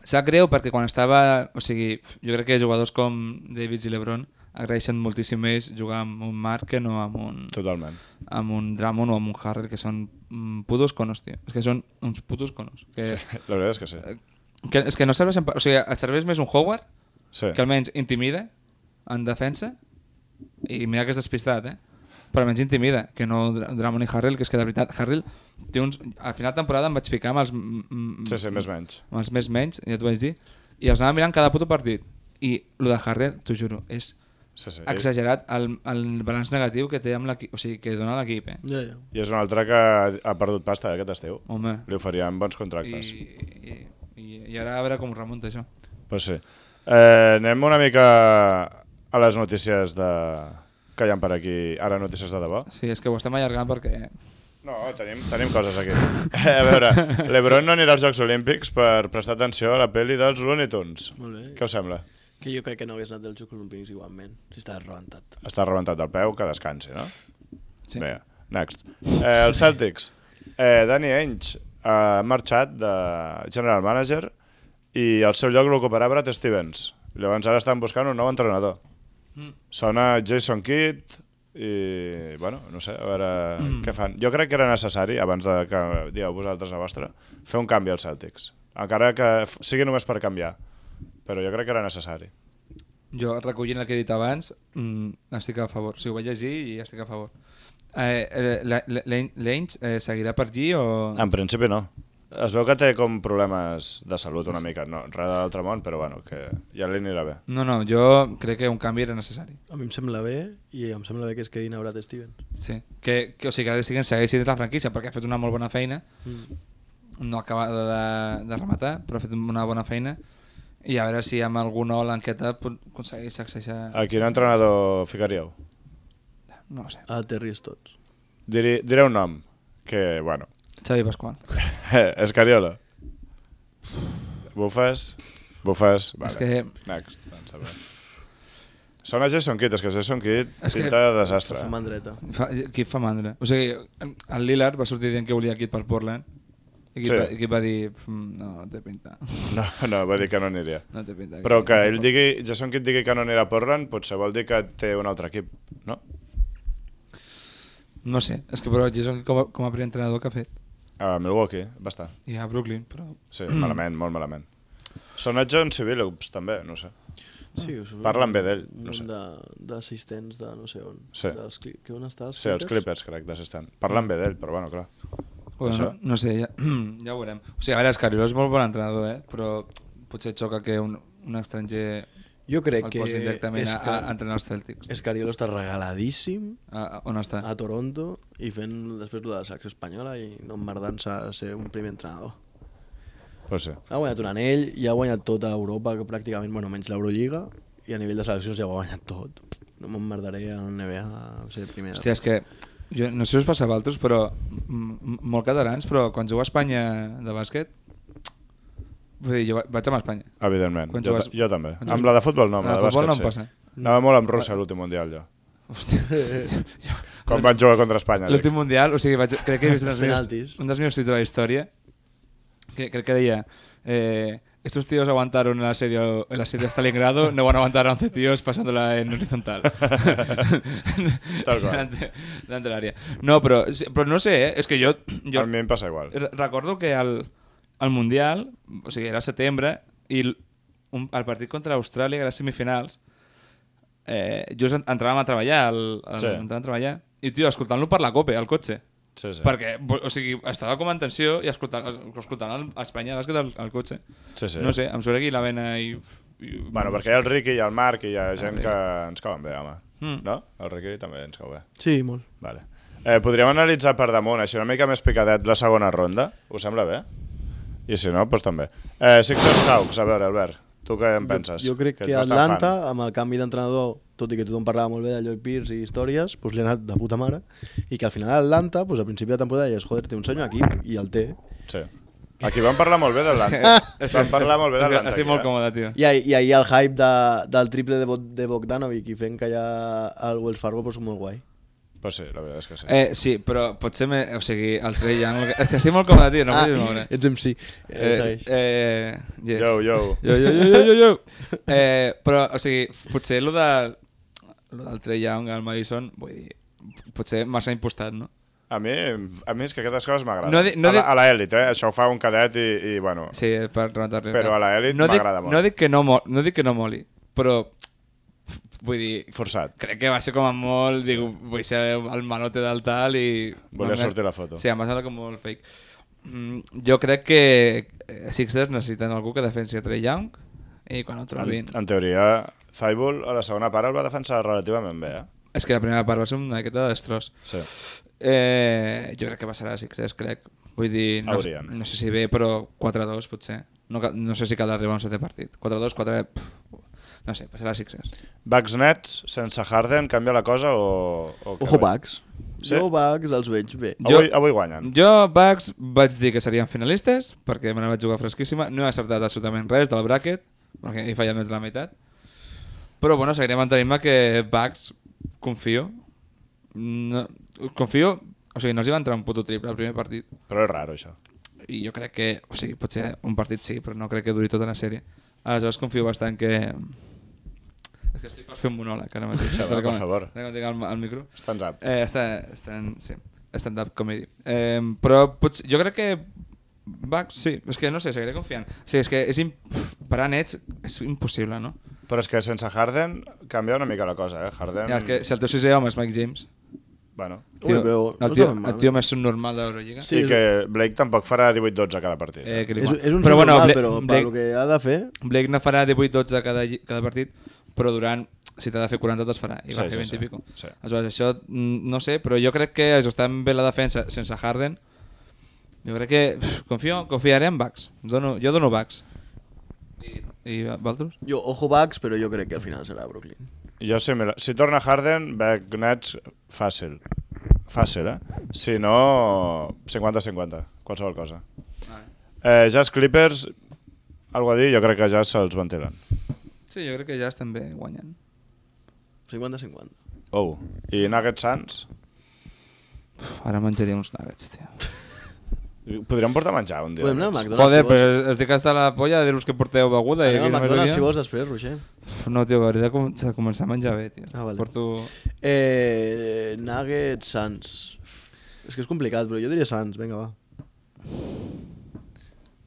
Speaker 4: sap greu perquè quan estava... O sigui, jo crec que jugadors com Davis i Lebron agraeixen moltíssim més jugar amb un Marc que no amb un,
Speaker 2: Totalment.
Speaker 4: amb un Drummond o amb un Harrell, que són mm, putos conos, tio. És que són uns putos conos. Que,
Speaker 2: Sí, [laughs] la veritat és que sí.
Speaker 4: que, és que no serveixen... per- O sigui, et serveix més un Howard
Speaker 2: Sí.
Speaker 4: que almenys intimida en defensa i mira que és despistat, eh? però almenys intimida, que no Dra- Drummond i Harrell, que és que de veritat, Harrell té uns... A final de temporada em vaig ficar amb els... m- m-
Speaker 2: Sí, sí, més o menys.
Speaker 4: Amb els més menys, ja t'ho vaig dir, i els anava mirant cada puto partit. I el de Harrell, t'ho juro, és
Speaker 2: Sí, sí. I,
Speaker 4: exagerat el, el balanç negatiu que té amb l'equip, o sigui, que dona l'equip, eh?
Speaker 3: Ja, ja.
Speaker 2: I és un altre que ha perdut pasta eh, aquest estiu.
Speaker 4: Home,
Speaker 2: Li oferien bons
Speaker 4: i,
Speaker 2: contractes. I...
Speaker 4: i, i, i ara a veure com remunta això.
Speaker 2: Pues sí. Eh, anem una mica a les notícies de... que hi ha per aquí. Ara notícies de debò.
Speaker 4: Sí, és que ho estem allargant perquè...
Speaker 2: No, tenim, tenim coses aquí. Eh, a veure, l'Ebron no anirà als Jocs Olímpics per prestar atenció a la pel·li dels Looney Tunes.
Speaker 3: Molt bé.
Speaker 2: Què us sembla?
Speaker 3: Que jo crec que no hagués anat dels Jocs Olímpics igualment. Si estàs rebentat.
Speaker 2: Està rebentat el peu, que descansi, no?
Speaker 4: Sí.
Speaker 2: Vinga, next. Eh, els Celtics. Eh, Danny Ainge ha marxat de general manager i al seu lloc l'ocuparà Brad Stevens. Llavors ara estan buscant un nou entrenador.
Speaker 4: Mm.
Speaker 2: Sona Jason Kidd i, bueno, no sé, a veure què fan. Jo crec que era necessari, abans de que dieu vosaltres la vostra, fer un canvi als Celtics. Encara que f- sigui només per canviar. Però jo crec que era necessari.
Speaker 4: Jo, recollint el que he dit abans, mm, estic a favor. O sigui, ho vaig llegir i estic a favor. Eh, eh, la- la- l'Ain- L'Ainge eh, seguirà per allí o...?
Speaker 2: En principi no. Es veu que té com problemes de salut una mica, no, res de l'altre món, però bueno, que ja li anirà bé.
Speaker 4: No, no, jo crec que un canvi era necessari.
Speaker 3: A mi em sembla bé i em sembla bé que es quedin a Brad Stevens.
Speaker 4: Sí. Que, que, o sigui, que ara siguin segueixi dins la franquícia perquè ha fet una molt bona feina.
Speaker 3: Mm.
Speaker 4: No acaba de, de, de rematar, però ha fet una bona feina. I a veure si amb alguna olanqueta pot- aconsegueix sacsejar...
Speaker 2: A quin entrenador ficaríeu?
Speaker 4: No ho sé.
Speaker 3: A Terry Stotts.
Speaker 2: Diré, diré un nom, que, bueno, [laughs]
Speaker 4: Xavi Pasqual.
Speaker 2: Escariola. Bufes, bufes, vale.
Speaker 4: És que-
Speaker 2: Next, doncs, a veure. Sona Jason Kidd, és que Jason Kidd
Speaker 4: És que-
Speaker 2: pinta de desastre.
Speaker 3: Fa man dreta.
Speaker 4: Fa, qui fa mandra. O sigui, el Lillard va sortir dient que volia Kid per Portland I qui,
Speaker 2: Sí.
Speaker 4: va, i qui va dir, "Mm, no, no té pinta.
Speaker 2: No, no, va dir que no aniria.
Speaker 4: No té pinta.
Speaker 2: Però que ell digui, Jason Kidd digui que no anirà a Portland, potser vol dir que té un altre equip, no?
Speaker 4: No sé, és que però Jason Kidd com a, com a primer entrenador que ha fet.
Speaker 2: A Milwaukee, va estar.
Speaker 4: I a Brooklyn, però...
Speaker 2: Sí, malament, molt malament. Són a John Civilups, també, no sé.
Speaker 3: Sí, us
Speaker 2: Parlen bé d'ell, no sé.
Speaker 3: Un de- d'assistents de, no sé on.
Speaker 2: Sí.
Speaker 3: Dels, cli- que on està? Els
Speaker 2: Sí, els Clippers, crec, d'assistent. Parlen bé d'ell, però bueno, clar.
Speaker 4: Bueno,
Speaker 2: Això.
Speaker 4: no, no sé, ja, [clears throat] ja ho veurem. O sigui, a veure, Escariló és molt bon entrenador, eh? però potser xoca que un, un estranger
Speaker 3: Jo crec
Speaker 4: el
Speaker 3: que...
Speaker 4: posi directament a, a,
Speaker 3: Esca-
Speaker 4: entrenar els Celtics.
Speaker 3: Escariolo està regaladíssim
Speaker 4: A, a, on està?
Speaker 2: Ah.
Speaker 3: a Toronto i fent després lo de la selecció espanyola i no emmerdant-se a ser un primer entrenador.
Speaker 2: Pues sí.
Speaker 3: Ha guanyat un anell i ha guanyat tot a Europa, que pràcticament, bueno, menys l'Eurolliga, i a nivell de seleccions ja ho ha guanyat tot. No m'emmerdaré a NBA a ser primer.
Speaker 4: Hòstia, és que jo, no sé si us passa a vosaltres, però m- m- molt catalans, però quan jugo a Espanya de bàsquet, vull dir, jo va- vaig amb Espanya.
Speaker 2: Evidentment,
Speaker 4: Quan
Speaker 2: jo,
Speaker 4: jugues-
Speaker 2: ta- jo també.
Speaker 4: quan
Speaker 2: Amb
Speaker 4: jugues-
Speaker 2: la de futbol no, amb la,
Speaker 4: Amb
Speaker 2: de
Speaker 4: la futbol
Speaker 2: bàsquet
Speaker 4: no
Speaker 2: sí.
Speaker 4: em passa.
Speaker 2: Anava molt amb Rússia a l'últim mundial, jo.
Speaker 4: Hòstia.
Speaker 2: Quan van jugar contra Espanya. dic.
Speaker 4: [laughs] L'últim mundial, o sigui, vaig, crec que he vist un dels,
Speaker 3: Els
Speaker 4: meus,
Speaker 3: penaltis.
Speaker 4: un dels meus tuits de la història, que crec que deia... Eh, estos tíos aguantaron el asedio, el asedio a Stalingrado, no van a aguantar a 11 tíos pasándola en horizontal.
Speaker 2: [laughs]
Speaker 4: [laughs]
Speaker 2: Tal cual.
Speaker 4: Delante, delante del área. No, però, sí, però no sé, eh? és que jo, jo
Speaker 2: A mi em passa igual.
Speaker 4: Re- Recordo que al, al Mundial, o sigui, era setembre, i l- un, el partit contra Austràlia, que era semifinals, eh, just en- entràvem a treballar, el, el,
Speaker 2: Sí.
Speaker 4: sí. entràvem a treballar, i tio, escoltant-lo per la cope, al cotxe.
Speaker 2: Sí,
Speaker 4: Sí.
Speaker 2: sí.
Speaker 4: Perquè, bo- o sigui, estava com en tensió i escoltant, es- escoltant el, a Espanya bàsquet al, al cotxe.
Speaker 2: Sí, sí.
Speaker 4: No sé, em surt aquí la vena i... i
Speaker 2: Bueno, perquè hi ha el Ricky, hi ha el Marc i hi ha gent
Speaker 4: Ah, Ricky.
Speaker 2: que ens cauen bé, home.
Speaker 4: Mm.
Speaker 2: No? El Ricky també ens cau bé.
Speaker 3: Sí, molt.
Speaker 2: Vale. Eh, podríem analitzar per damunt, així una mica més picadet, la segona ronda. Us sembla bé? I si no, doncs també. Eh, Sixers Hawks, a veure, Albert, tu què en penses?
Speaker 3: Jo, jo crec que,
Speaker 2: ets bastant
Speaker 3: Atlanta,
Speaker 2: fan.
Speaker 3: amb el canvi d'entrenador, tot i que tothom parlava molt bé de Lloyd Pierce i històries, doncs li ha anat de puta mare, i que al final Atlanta, doncs a principi de temporada, deies, joder, té un senyor aquí, i el té.
Speaker 2: Sí. Aquí vam parlar molt bé [laughs] d'Atlanta. Vam parlar molt bé
Speaker 4: Estic-
Speaker 2: d'Atlanta.
Speaker 4: Eh, Estic
Speaker 2: aquí,
Speaker 4: molt
Speaker 2: eh?
Speaker 4: còmode, tio.
Speaker 3: I, ahir- i ahir el hype de, del triple de, Bo- de Bogdanovic i fent callar el Wells Fargo, doncs molt guai.
Speaker 2: Pues sí, la veritat és que sí. Eh.
Speaker 4: Eh, sí, però potser... Me, o sigui, el Trey Young... És que estic molt còmode, tio,
Speaker 2: Ah.
Speaker 4: no em facis moure.
Speaker 3: Ah, ets MC. Eh,
Speaker 4: Eh,
Speaker 3: segueix.
Speaker 4: eh, yes.
Speaker 2: Yo, yo.
Speaker 4: Yo, yo, yo, yo, yo, yo. [laughs] Eh, però, o sigui, potser lo, de, lo del Trey Young al Madison, vull dir, potser massa impostat, no?
Speaker 2: A mi, a mi és que aquestes coses m'agraden.
Speaker 4: No di- no
Speaker 2: A la-
Speaker 4: di-
Speaker 2: a l'elit, eh? Això ho fa un cadet i, i bueno...
Speaker 4: Sí, eh, per rematar-li. el
Speaker 2: Però
Speaker 4: cap.
Speaker 2: a la elit
Speaker 4: dic-
Speaker 2: m'agrada molt.
Speaker 4: No dic que no, mo no dic que no moli, però vull dir,
Speaker 2: Forçat.
Speaker 4: crec que va ser com a molt, dic, vull ser el malote del tal i...
Speaker 2: Volia sortir la foto.
Speaker 4: Sí, em va semblar com molt fake. Mm, jo crec que eh, Sixers necessiten algú que defensi a Trey Young i quan ho trobin...
Speaker 2: En, en teoria, Zaibul a la segona part el va defensar relativament bé, eh?
Speaker 4: És que la primera part va ser una miqueta de destros.
Speaker 2: Sí.
Speaker 4: Eh, jo crec que passarà a Sixers, crec. Vull dir, no,
Speaker 2: Haurien.
Speaker 4: no sé si bé, però 4-2 potser. No, ca- no sé si cal arribar a un setè partit. 4-2, 4... Pff, no sé, passarà a Sixers.
Speaker 2: Bucks Nets, sense Harden, canvia la cosa o... o què
Speaker 3: Ojo,
Speaker 2: va?
Speaker 3: Bugs.
Speaker 2: Sí.
Speaker 3: Sí. Jo, Bugs, els veig bé.
Speaker 4: Jo-
Speaker 2: Avui, avui guanyen.
Speaker 4: Jo, Bucks, vaig dir que serien finalistes, perquè me la vaig jugar fresquíssima. No he acertat absolutament res del bracket, perquè he fallat més de la meitat. Però, bueno, seguiré mantenint-me que Bucks, confio. No, confio... O sigui, no els hi va entrar un puto triple al primer partit.
Speaker 2: Però és raro, això.
Speaker 4: i jo crec que, o sigui, potser un partit sí, però no crec que duri tota la sèrie. Aleshores confio bastant que... És que estic per fer un monòleg ara mateix.
Speaker 2: Xaval,
Speaker 4: Espera que
Speaker 2: per favor.
Speaker 4: espera Que em tinc el, el micro.
Speaker 2: Stand up.
Speaker 4: Eh, està, estan, sí, stand-up comedy. Eh, però potser, jo crec que va, sí, és que no sé, seguiré confiant. O sigui, és que és imp... parar nets és impossible, no?
Speaker 2: Però és que sense Harden canvia una mica la cosa, eh? Harden...
Speaker 4: Ja, és que si el teu sisè home és Mike James,
Speaker 2: Bueno.
Speaker 4: tio,
Speaker 3: Ui, però no
Speaker 4: el, tio,
Speaker 3: està tan mal.
Speaker 4: el tio més subnormal d'Eurolliga.
Speaker 2: Sí,
Speaker 3: Sí,
Speaker 2: I
Speaker 3: és-
Speaker 2: que Blake tampoc farà 18-12 cada partit.
Speaker 4: Eh, que li
Speaker 3: És,
Speaker 4: fa-
Speaker 3: és un però, bueno,
Speaker 4: Bla-
Speaker 3: però per
Speaker 4: Blake-
Speaker 3: el que ha de fer...
Speaker 4: Blake no farà 18-12 cada, lli- cada partit, però durant, si t'ha de fer 40, te'ls farà. I sí, va fer 20 sí, i pico.
Speaker 2: sí.
Speaker 4: Aleshores, això mm, no sé, però jo crec que ajustant bé la defensa sense Harden, jo crec que uf, confio, confiaré en Bucks. Dono, jo dono Bucks. I, i Valtros?
Speaker 3: Jo, ojo, Bugs, però jo crec que al final serà Brooklyn.
Speaker 2: Jo sí, mira, si torna Harden, Beck Nets, fàcil. Fàcil, eh? Si no, 50-50, qualsevol cosa. Eh, Jazz Clippers, algo a dir, jo crec que ja se'ls ventilen.
Speaker 4: Sí, jo crec que ja estan bé guanyant.
Speaker 3: 50-50.
Speaker 2: Oh. I Nuggets Suns?
Speaker 4: Uf, ara menjaria uns nuggets, tio.
Speaker 2: Podríem portar menjar un dia.
Speaker 3: Podem anar al
Speaker 2: d'aquests.
Speaker 3: McDonald's,
Speaker 4: Joder,
Speaker 3: si vols.
Speaker 4: però estic hasta la polla de dir-vos que porteu beguda.
Speaker 3: Anem
Speaker 4: i aquí
Speaker 3: al
Speaker 4: només
Speaker 3: McDonald's
Speaker 4: venia.
Speaker 3: si vols després, Roger.
Speaker 4: No, tio, hauria de com- de començar a menjar bé, tio.
Speaker 3: Ah, vale.
Speaker 4: Porto...
Speaker 3: Eh, Nuggets, Suns. És que és complicat, però jo diria Suns, vinga, va.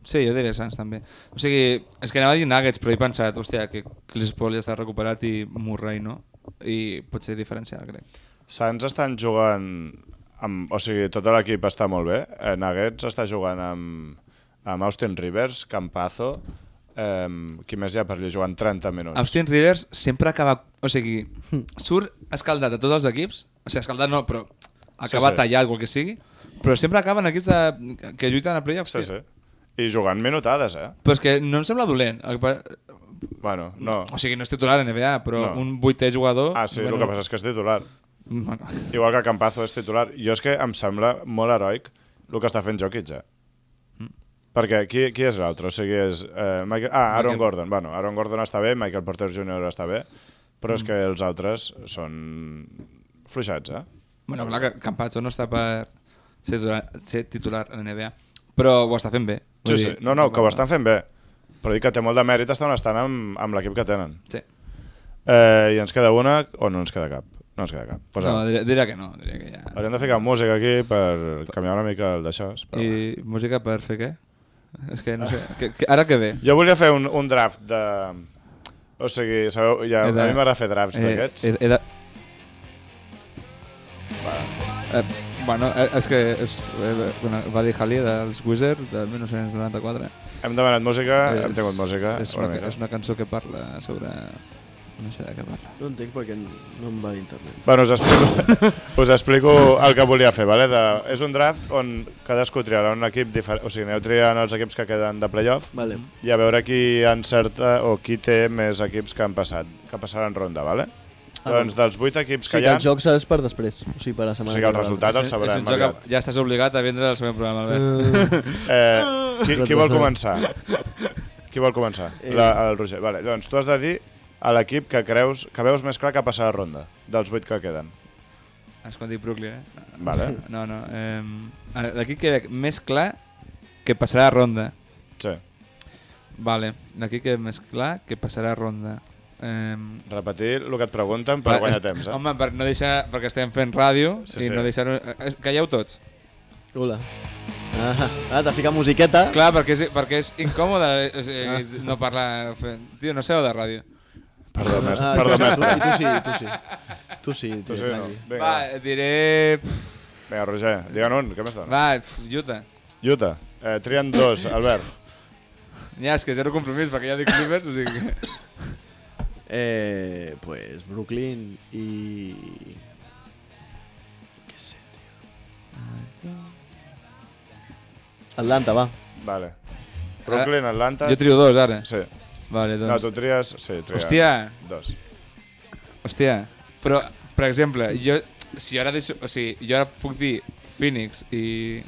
Speaker 4: Sí, jo diria Sants, també. O sigui, és que anava a dir Nuggets, però he pensat, hòstia, que Chris Paul ja s'ha recuperat i Murray no. I pot ser diferencial, crec.
Speaker 2: Sants estan jugant amb, o sigui, tot l'equip està molt bé. Eh, Nuggets està jugant amb, amb Austin Rivers, Campazo, eh, qui més hi ha per allà jugant 30 minuts.
Speaker 4: Austin Rivers sempre acaba... O sigui, surt escaldat a tots els equips. O sigui, escaldat no, però acaba
Speaker 2: Sí, sí.
Speaker 4: tallat o el que sigui. Però sempre acaba en equips de... que lluiten a playoffs.
Speaker 2: sí,
Speaker 4: tio.
Speaker 2: sí. I jugant minutades, eh?
Speaker 4: Però és que no em sembla dolent. El que pa-
Speaker 2: Bueno, no.
Speaker 4: O sigui, no és titular a NBA, però
Speaker 2: Ah. No.
Speaker 4: un vuitè jugador...
Speaker 2: Ah, sí, el que passa és que és titular.
Speaker 4: Bueno,
Speaker 2: Igual que Campazo és titular. Jo és que em sembla molt heroic el que està fent Jokic, eh?
Speaker 4: Mm.
Speaker 2: Perquè qui, qui és l'altre? O sigui, és... Eh, Michael, ah, Aaron
Speaker 4: Michael-
Speaker 2: Gordon. Bueno, Aaron Gordon està bé, Michael Porter Jr. està bé,
Speaker 4: Mm.
Speaker 2: però és que els altres són fluixats, eh?
Speaker 4: bueno clar que Campazzo no està per ser titular, ser titular a la NBA, però ho està fent bé.
Speaker 2: Sí,
Speaker 4: Vull
Speaker 2: sí.
Speaker 4: dir,
Speaker 2: No, no, que ho estan fent bé. Però dic que té molt de mèrit estar on estan amb, amb l'equip que tenen.
Speaker 4: Sí.
Speaker 2: Eh, I ens queda una o no ens queda cap? No ens queda cap. Pues,
Speaker 4: no,
Speaker 2: no,
Speaker 4: diria, diria que no, diria que ja.
Speaker 2: Hauríem de ficar música aquí per canviar una mica el d'això. però bé.
Speaker 4: I música per fer què? És que no sé, que, que, ara que ve?
Speaker 2: Jo volia fer un, un draft de... O sigui, sabeu, ja, a
Speaker 4: He de-
Speaker 2: mi m'agrada fer
Speaker 4: eh,
Speaker 2: drafts d'aquests.
Speaker 4: he, he de,
Speaker 2: Va.
Speaker 4: eh, bueno, eh, és que és, eh, bueno, va dir Halley dels Wizards del 1994.
Speaker 2: Hem demanat música, Ah, hem
Speaker 4: És-
Speaker 2: tingut música.
Speaker 4: És
Speaker 2: una
Speaker 4: una,
Speaker 2: mica.
Speaker 4: és una cançó que parla sobre... No sé de què parla.
Speaker 3: No entenc per què no em va a internet.
Speaker 2: Bueno, us explico, us explico el que volia fer, vale? De, és un draft on cadascú triarà un equip diferent, o sigui, aneu triant els equips que queden de playoff
Speaker 3: Vale.
Speaker 2: i a veure qui encerta o qui té més equips que han passat, que passaran ronda, vale?
Speaker 3: Ah,
Speaker 2: doncs dels 8 equips
Speaker 3: O
Speaker 2: que
Speaker 3: sigui
Speaker 2: hi
Speaker 3: que
Speaker 2: ha...
Speaker 3: el joc serà per després. O sigui, per la setmana.
Speaker 2: sigui, el
Speaker 3: que ve.
Speaker 2: resultat- Ara el
Speaker 4: És-
Speaker 2: sabrem,
Speaker 4: és un joc
Speaker 2: aviat.
Speaker 4: que ja estàs obligat a vindre al següent programa, Albert. [laughs]
Speaker 2: Eh, qui, qui vol
Speaker 3: Retrasat.
Speaker 2: començar? Qui vol començar?
Speaker 3: Eh.
Speaker 2: La, el Roger. Vale, doncs tu has de dir a l'equip que creus que veus més clar que passarà la ronda, dels 8 que queden.
Speaker 4: Has quan dic Brooklyn, eh?
Speaker 2: Vale?
Speaker 4: No, no. Eh, L'equip que veig més clar que passarà ronda.
Speaker 2: Sí.
Speaker 4: Vale, l'equip que més clar que passarà ronda. Eh,
Speaker 2: Repetir el que et pregunten per guanyar temps, eh?
Speaker 4: Home, per no deixar, perquè estem fent ràdio
Speaker 2: Sí,
Speaker 4: sí, i
Speaker 2: sí.
Speaker 4: no deixar... eh, Calleu tots.
Speaker 3: Hola. Ah, ah t'ha ficat musiqueta.
Speaker 4: Clar, perquè és, perquè és incòmode eh, eh, no parlar... Fent... Tio, no seu de ràdio.
Speaker 2: Perdó, més,
Speaker 3: Ah,
Speaker 2: perdó,
Speaker 3: tu,
Speaker 2: més.
Speaker 3: tu, tu sí, tu sí. Tu sí, tio,
Speaker 2: Tu sí, no.
Speaker 3: tranqui.
Speaker 2: Vinga,
Speaker 4: Va,
Speaker 2: va.
Speaker 4: diré...
Speaker 2: Vinga, Roger, digue'n un, què més dona?
Speaker 4: Va, pf, Utah.
Speaker 2: Utah. Eh, trien
Speaker 4: [laughs]
Speaker 2: dos, Albert.
Speaker 4: Ja, és que zero compromís, perquè ja dic Clippers, o sigui que...
Speaker 3: Eh, pues Brooklyn i... Què sé, tio. Atlanta, va.
Speaker 2: Vale. Brooklyn, Atlanta...
Speaker 4: Eh, Jo trio dos, ara.
Speaker 2: Sí.
Speaker 4: Vale,
Speaker 2: No,
Speaker 4: doncs...
Speaker 2: tu tries... Sí, tries.
Speaker 4: Hòstia.
Speaker 2: Dos.
Speaker 4: Hòstia, però, per exemple, jo, si jo ara, deixo, o sigui, jo ara puc dir Phoenix i,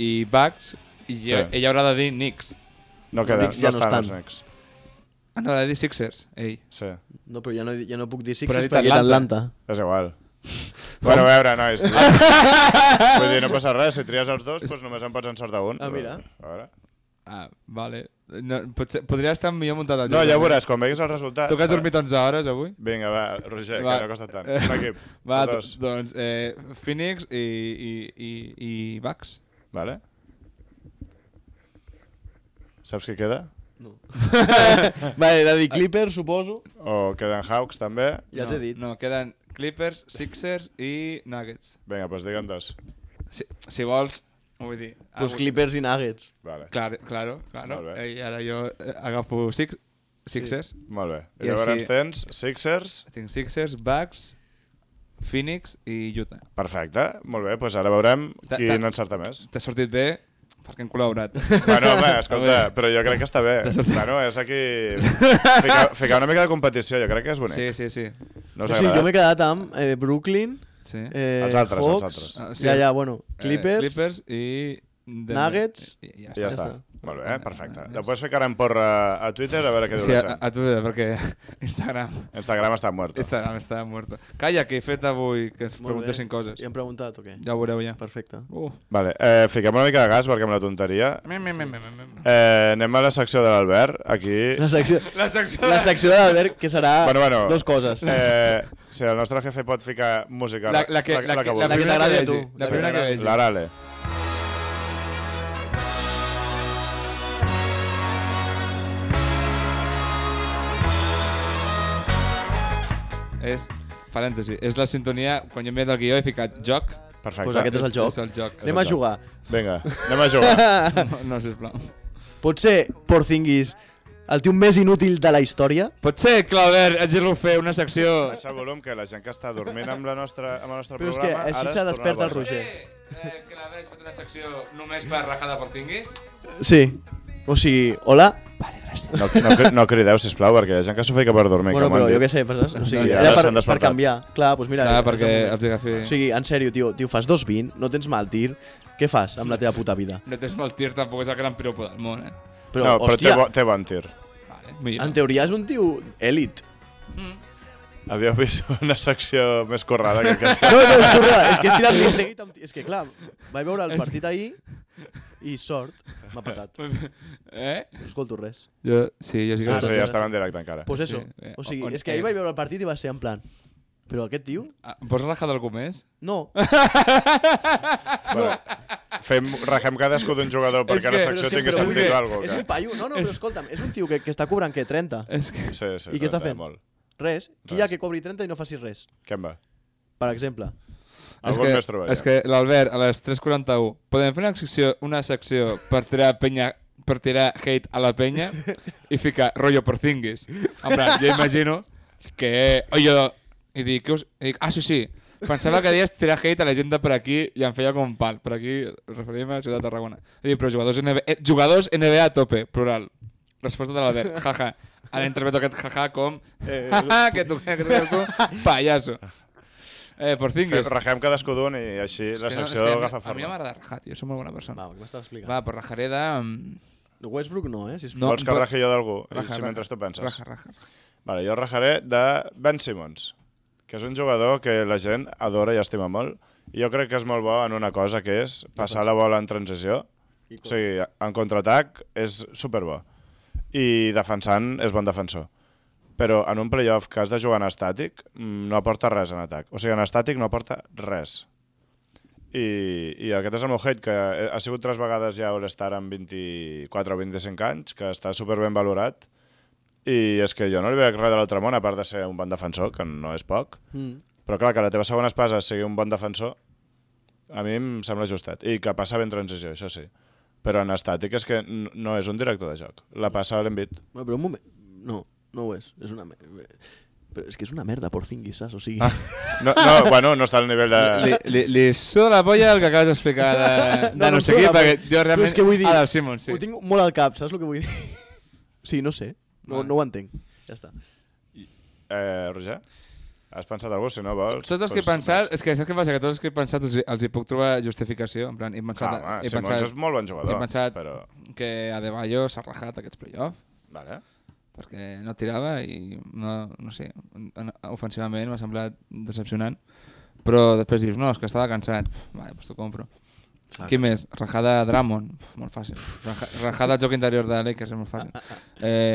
Speaker 4: i Bucks, i ella,
Speaker 2: Sí.
Speaker 4: ella haurà de dir Knicks.
Speaker 2: No queda,
Speaker 3: Knicks ja
Speaker 2: no
Speaker 3: no
Speaker 2: estan
Speaker 3: estan.
Speaker 2: els Knicks.
Speaker 4: Ah, no, haurà de dir Sixers, ell.
Speaker 2: Sí.
Speaker 3: No, però ja no, ja no puc dir
Speaker 4: Però ha
Speaker 3: Sixers
Speaker 4: dit
Speaker 3: perquè era
Speaker 4: Atlanta.
Speaker 3: Atlanta.
Speaker 2: És
Speaker 4: [laughs]
Speaker 2: igual. Bueno, a veure, nois. Vull dir, no passa res. Si tries els dos, doncs només en pots encertar un.
Speaker 3: Ah, mira.
Speaker 2: A veure.
Speaker 4: Ah, vale. No, potser, podria estar millor muntat al
Speaker 2: No, ja ho veuràs, quan veguis el resultat...
Speaker 4: Ah, Tu que has dormit 11 hores avui?
Speaker 2: Vinga, va, Roger,
Speaker 4: Va. Eh,
Speaker 2: que no costa tant. Un equip,
Speaker 4: [laughs] Va,
Speaker 2: o dos.
Speaker 4: dos. doncs eh, Phoenix i, i, i, i Bucks.
Speaker 2: Vale. Saps què queda?
Speaker 4: [laughs]
Speaker 3: vale, era dir Clippers, suposo.
Speaker 2: O queden Hawks, també?
Speaker 3: Ja
Speaker 4: no,
Speaker 3: t'he dit.
Speaker 4: No, queden Clippers, Sixers i Nuggets.
Speaker 2: Vinga, doncs digue'n dos.
Speaker 4: Si, si vols, ho Ah, vull dir.
Speaker 3: Pues
Speaker 4: avui-
Speaker 3: Doncs Clippers i Nuggets.
Speaker 2: Vale.
Speaker 4: Claro, claro, claro.
Speaker 2: Molt bé.
Speaker 4: Eh, I ara jo eh, agafo six, Sixers. Sí.
Speaker 2: Molt bé. I,
Speaker 4: I
Speaker 2: llavors
Speaker 4: així-
Speaker 2: tens Sixers.
Speaker 4: Tinc Sixers, Bucks, Phoenix i Utah.
Speaker 2: Perfecte. Molt bé, doncs ara veurem
Speaker 4: Ta-
Speaker 2: qui
Speaker 4: ta-
Speaker 2: n'encerta més.
Speaker 4: T'ha sortit bé perquè hem [laughs] col·laborat.
Speaker 2: Bueno, home, escolta,
Speaker 4: Molt bé.
Speaker 2: però jo crec que està
Speaker 4: [laughs]
Speaker 2: bé.
Speaker 4: De sobte.
Speaker 2: Bueno, és aquí...
Speaker 4: [laughs]
Speaker 2: Ficar, ficar una mica de competició, jo crec que és bonic.
Speaker 4: Sí, sí, sí.
Speaker 2: No us
Speaker 3: sí,
Speaker 2: agrada?
Speaker 3: jo m'he quedat amb eh, Brooklyn,
Speaker 4: sí.
Speaker 3: eh,
Speaker 2: Els altres, els
Speaker 3: Hawks,
Speaker 2: altres.
Speaker 4: Ah, sí.
Speaker 3: ja, ja, bueno,
Speaker 4: Eh,
Speaker 3: Clippers,
Speaker 4: Clippers i... Denver.
Speaker 3: Nuggets.
Speaker 4: I, i ja
Speaker 2: I ja
Speaker 4: està.
Speaker 2: està. Molt bé, perfecte. Te pots fer cara en porra a Twitter a veure què diu
Speaker 4: Sí,
Speaker 2: la
Speaker 4: a,
Speaker 2: gent.
Speaker 4: a Twitter, perquè [laughs] Instagram...
Speaker 2: Instagram està mort.
Speaker 4: Instagram està muerto. Calla, que he fet avui que es
Speaker 3: Molt bé.
Speaker 4: preguntessin coses.
Speaker 3: I hem preguntat o què?
Speaker 4: Ja ho veureu ja.
Speaker 3: Perfecte.
Speaker 4: Uh.
Speaker 2: Vale, eh, fiquem una mica de gas perquè amb la tonteria.
Speaker 4: Mem, mem, mem, mem, mem.
Speaker 2: Eh, anem a la secció de l'Albert, aquí.
Speaker 3: La secció,
Speaker 4: [laughs] La secció...
Speaker 3: la secció de l'Albert, que serà
Speaker 2: Bueno, bueno.
Speaker 3: dos coses.
Speaker 2: Eh, si el nostre jefe pot ficar música...
Speaker 4: La, la, que, la, que, la,
Speaker 2: vulgui.
Speaker 4: primera que
Speaker 3: t'agradi a
Speaker 4: vegi.
Speaker 3: tu.
Speaker 4: La primera que vegi.
Speaker 2: L'Arale.
Speaker 4: És, parèntesi, és la sintonia, quan jo he enviat el guió he ficat [laughs] joc.
Speaker 2: Perfecte.
Speaker 3: Pues aquest és el joc.
Speaker 4: És el joc.
Speaker 3: Anem a
Speaker 2: joc.
Speaker 3: jugar. [laughs]
Speaker 2: Vinga, anem a
Speaker 4: [laughs]
Speaker 2: jugar.
Speaker 4: No, no, sisplau.
Speaker 3: Potser Porzingis, el tio més inútil de la història,
Speaker 4: Potser, Clauder, hagi-lo fer una secció...
Speaker 2: Deixa el volum que la gent que està dormint amb, la nostra, amb el nostre
Speaker 3: Però és que
Speaker 2: programa...
Speaker 3: així
Speaker 2: ara es
Speaker 3: s'ha
Speaker 2: torna
Speaker 3: despert el
Speaker 2: boja.
Speaker 3: Roger.
Speaker 4: eh, Clauder, has fet una secció només per rajada per tinguis?
Speaker 3: Sí. O sigui, hola.
Speaker 4: Vale, gràcies.
Speaker 2: No, no, cri- no crideu, sisplau, perquè hi ha gent que s'ho fica per dormir.
Speaker 3: bueno,
Speaker 2: com han
Speaker 3: però jo
Speaker 2: dit.
Speaker 3: què sé, saps? O sigui,
Speaker 2: No, ja
Speaker 3: era per,
Speaker 2: s'han
Speaker 3: per
Speaker 2: despertat.
Speaker 3: canviar. Clar, doncs mira...
Speaker 4: Clar,
Speaker 3: és
Speaker 4: perquè
Speaker 3: el moment.
Speaker 4: els agafi...
Speaker 3: O sigui, en sèrio, tio, tio, fas 2.20, no tens mal tir, què fas amb la teva puta vida?
Speaker 4: No tens mal tir, tampoc és el gran piropo del món, eh?
Speaker 3: Però,
Speaker 2: no, però té,
Speaker 3: hòstia,
Speaker 2: bo, té bon tir.
Speaker 4: Vale, millor.
Speaker 3: en teoria és un tio èlit.
Speaker 2: Havíeu vist [laughs] una secció més corrada que aquesta.
Speaker 3: No, no, és que, és que he tirat l'Integrit amb... És que clar, vaig veure el partit ahir i sort, m'ha patat.
Speaker 4: Eh?
Speaker 3: No escolto res.
Speaker 4: Jo, sí, jo sí
Speaker 2: Sí,
Speaker 4: que...
Speaker 3: Ah,
Speaker 2: sí, ja estava en directe encara.
Speaker 3: Pues
Speaker 4: Sí,
Speaker 3: eso,
Speaker 4: eh,
Speaker 3: o sigui,
Speaker 4: on-
Speaker 3: és que ahir
Speaker 4: eh.
Speaker 3: vaig veure el partit i va ser en plan... Però aquest tio?
Speaker 4: Ah, em Pots rajar d'algú més?
Speaker 3: No.
Speaker 2: Bueno, fem, rajem cadascú d'un jugador perquè
Speaker 4: que-
Speaker 2: la
Speaker 4: però
Speaker 2: secció
Speaker 4: és que-
Speaker 2: tingui
Speaker 4: però vull
Speaker 2: sentit
Speaker 4: dir-
Speaker 2: o alguna
Speaker 3: És un paio, no, no, però escolta'm, és un tio que, que està cobrant, què, 30?
Speaker 4: És que...
Speaker 2: Sí, sí,
Speaker 3: I què està
Speaker 2: realment,
Speaker 3: fent?
Speaker 2: Molt.
Speaker 3: Res. Qui hi ha que cobri 30 i no facis res,
Speaker 2: Què en va?
Speaker 3: per exemple.
Speaker 4: És
Speaker 2: Algun
Speaker 4: que,
Speaker 2: més trobarem.
Speaker 4: és que l'Albert, a les 3.41, podem fer una secció, una secció per tirar penya per tirar hate a la penya i ficar rollo porcinguis. En plan, jo imagino que... O jo... I dic, què us... I dic, ah, sí, sí. Pensava que deies tirar hate a la gent de per aquí i em feia com un pal. Per aquí ens referim a Ciutat de Tarragona. I dic, però jugadors NBA, eh, jugadors NBA a tope, plural. Resposta de l'Albert, jaja. Ara interpreto aquest jaja com...
Speaker 3: Eh,
Speaker 4: Jaja, que tu, que tu, que tu, payaso. Eh, porcinguis.
Speaker 2: Fem, rajem cadascú d'un i així la
Speaker 4: que
Speaker 2: secció
Speaker 4: és que a mi-
Speaker 2: agafa
Speaker 4: A mi no
Speaker 2: forma.
Speaker 4: m'agrada rajar, tio, som molt bona persona.
Speaker 3: Va, què m'estàs explicant?
Speaker 4: Va, pues rajaré de...
Speaker 3: No, Westbrook no, eh, sisplau.
Speaker 4: No,
Speaker 2: Vols que
Speaker 4: però-
Speaker 2: raji jo d'algú? I
Speaker 4: Raja,
Speaker 2: si
Speaker 4: raja.
Speaker 2: mentre tu penses.
Speaker 4: Raja, raja.
Speaker 2: Vale, jo rajaré de Ben Simmons, que és un jugador que la gent adora i estima molt. I jo crec que és molt bo en una cosa, que és passar la bola en transició. O sigui, en contraatac és superbo. I defensant és bon defensor. Però en un playoff que has de jugar en estàtic, mm, no aporta res en atac. O sigui, en estàtic no aporta res. I, i aquest és el meu hate, que ha sigut tres vegades ja All-Star amb 24 o 25 anys, que està superben valorat, i és que jo no li veig res de l'altre món, a part de ser un bon defensor, que no és poc.
Speaker 3: Mm.
Speaker 2: Però clar, que la teva segona espasa sigui un bon defensor, a mi em sembla ajustat. I que passa ben transició, això sí. Però en estàtic és que n- no és un director de joc. La passa a l'envit.
Speaker 3: Bueno, però un moment... No, no ho és. És una merda. Però és que és una merda, Porzingis, saps? O sigui...
Speaker 4: Ah.
Speaker 3: [laughs]
Speaker 2: No,
Speaker 4: [laughs]
Speaker 2: no, bueno, no està al nivell
Speaker 4: Li,
Speaker 2: de...
Speaker 4: li, li suda la polla el que acabes d'explicar de, de [laughs] Eh, no,
Speaker 3: em
Speaker 4: sé qui,
Speaker 3: sona,
Speaker 4: perquè
Speaker 3: però-
Speaker 4: jo
Speaker 3: però
Speaker 4: realment...
Speaker 3: és que vull dir,
Speaker 4: Ah, del Simon, sí.
Speaker 3: Ho tinc molt al cap, saps el que vull
Speaker 4: [laughs]
Speaker 3: dir? sí, no sé. No,
Speaker 4: Vale.
Speaker 3: no ho entenc. Ja està.
Speaker 2: Eh, Roger? Has pensat algú, si no vols?
Speaker 4: Tots els que he
Speaker 2: doncs-
Speaker 4: pensat, és que saps què passa? Que tots els que he pensat els, hi- els hi puc trobar justificació. En plan, he pensat,
Speaker 2: Clar, Ah, home,
Speaker 4: he
Speaker 2: Simons
Speaker 4: pensat
Speaker 2: és molt bon jugador,
Speaker 4: he pensat
Speaker 2: però...
Speaker 4: que Adebayo s'ha rajat aquests playoff
Speaker 2: Vale.
Speaker 4: perquè no tirava i no, no sé, en- ofensivament m'ha semblat decepcionant però després dius, no, és que estava cansat Pff, vale, doncs t'ho compro
Speaker 3: Clar.
Speaker 4: qui més? Rajada Dramon, Pff, molt fàcil Raja, Rajada joc interior de Lakers, és molt fàcil eh,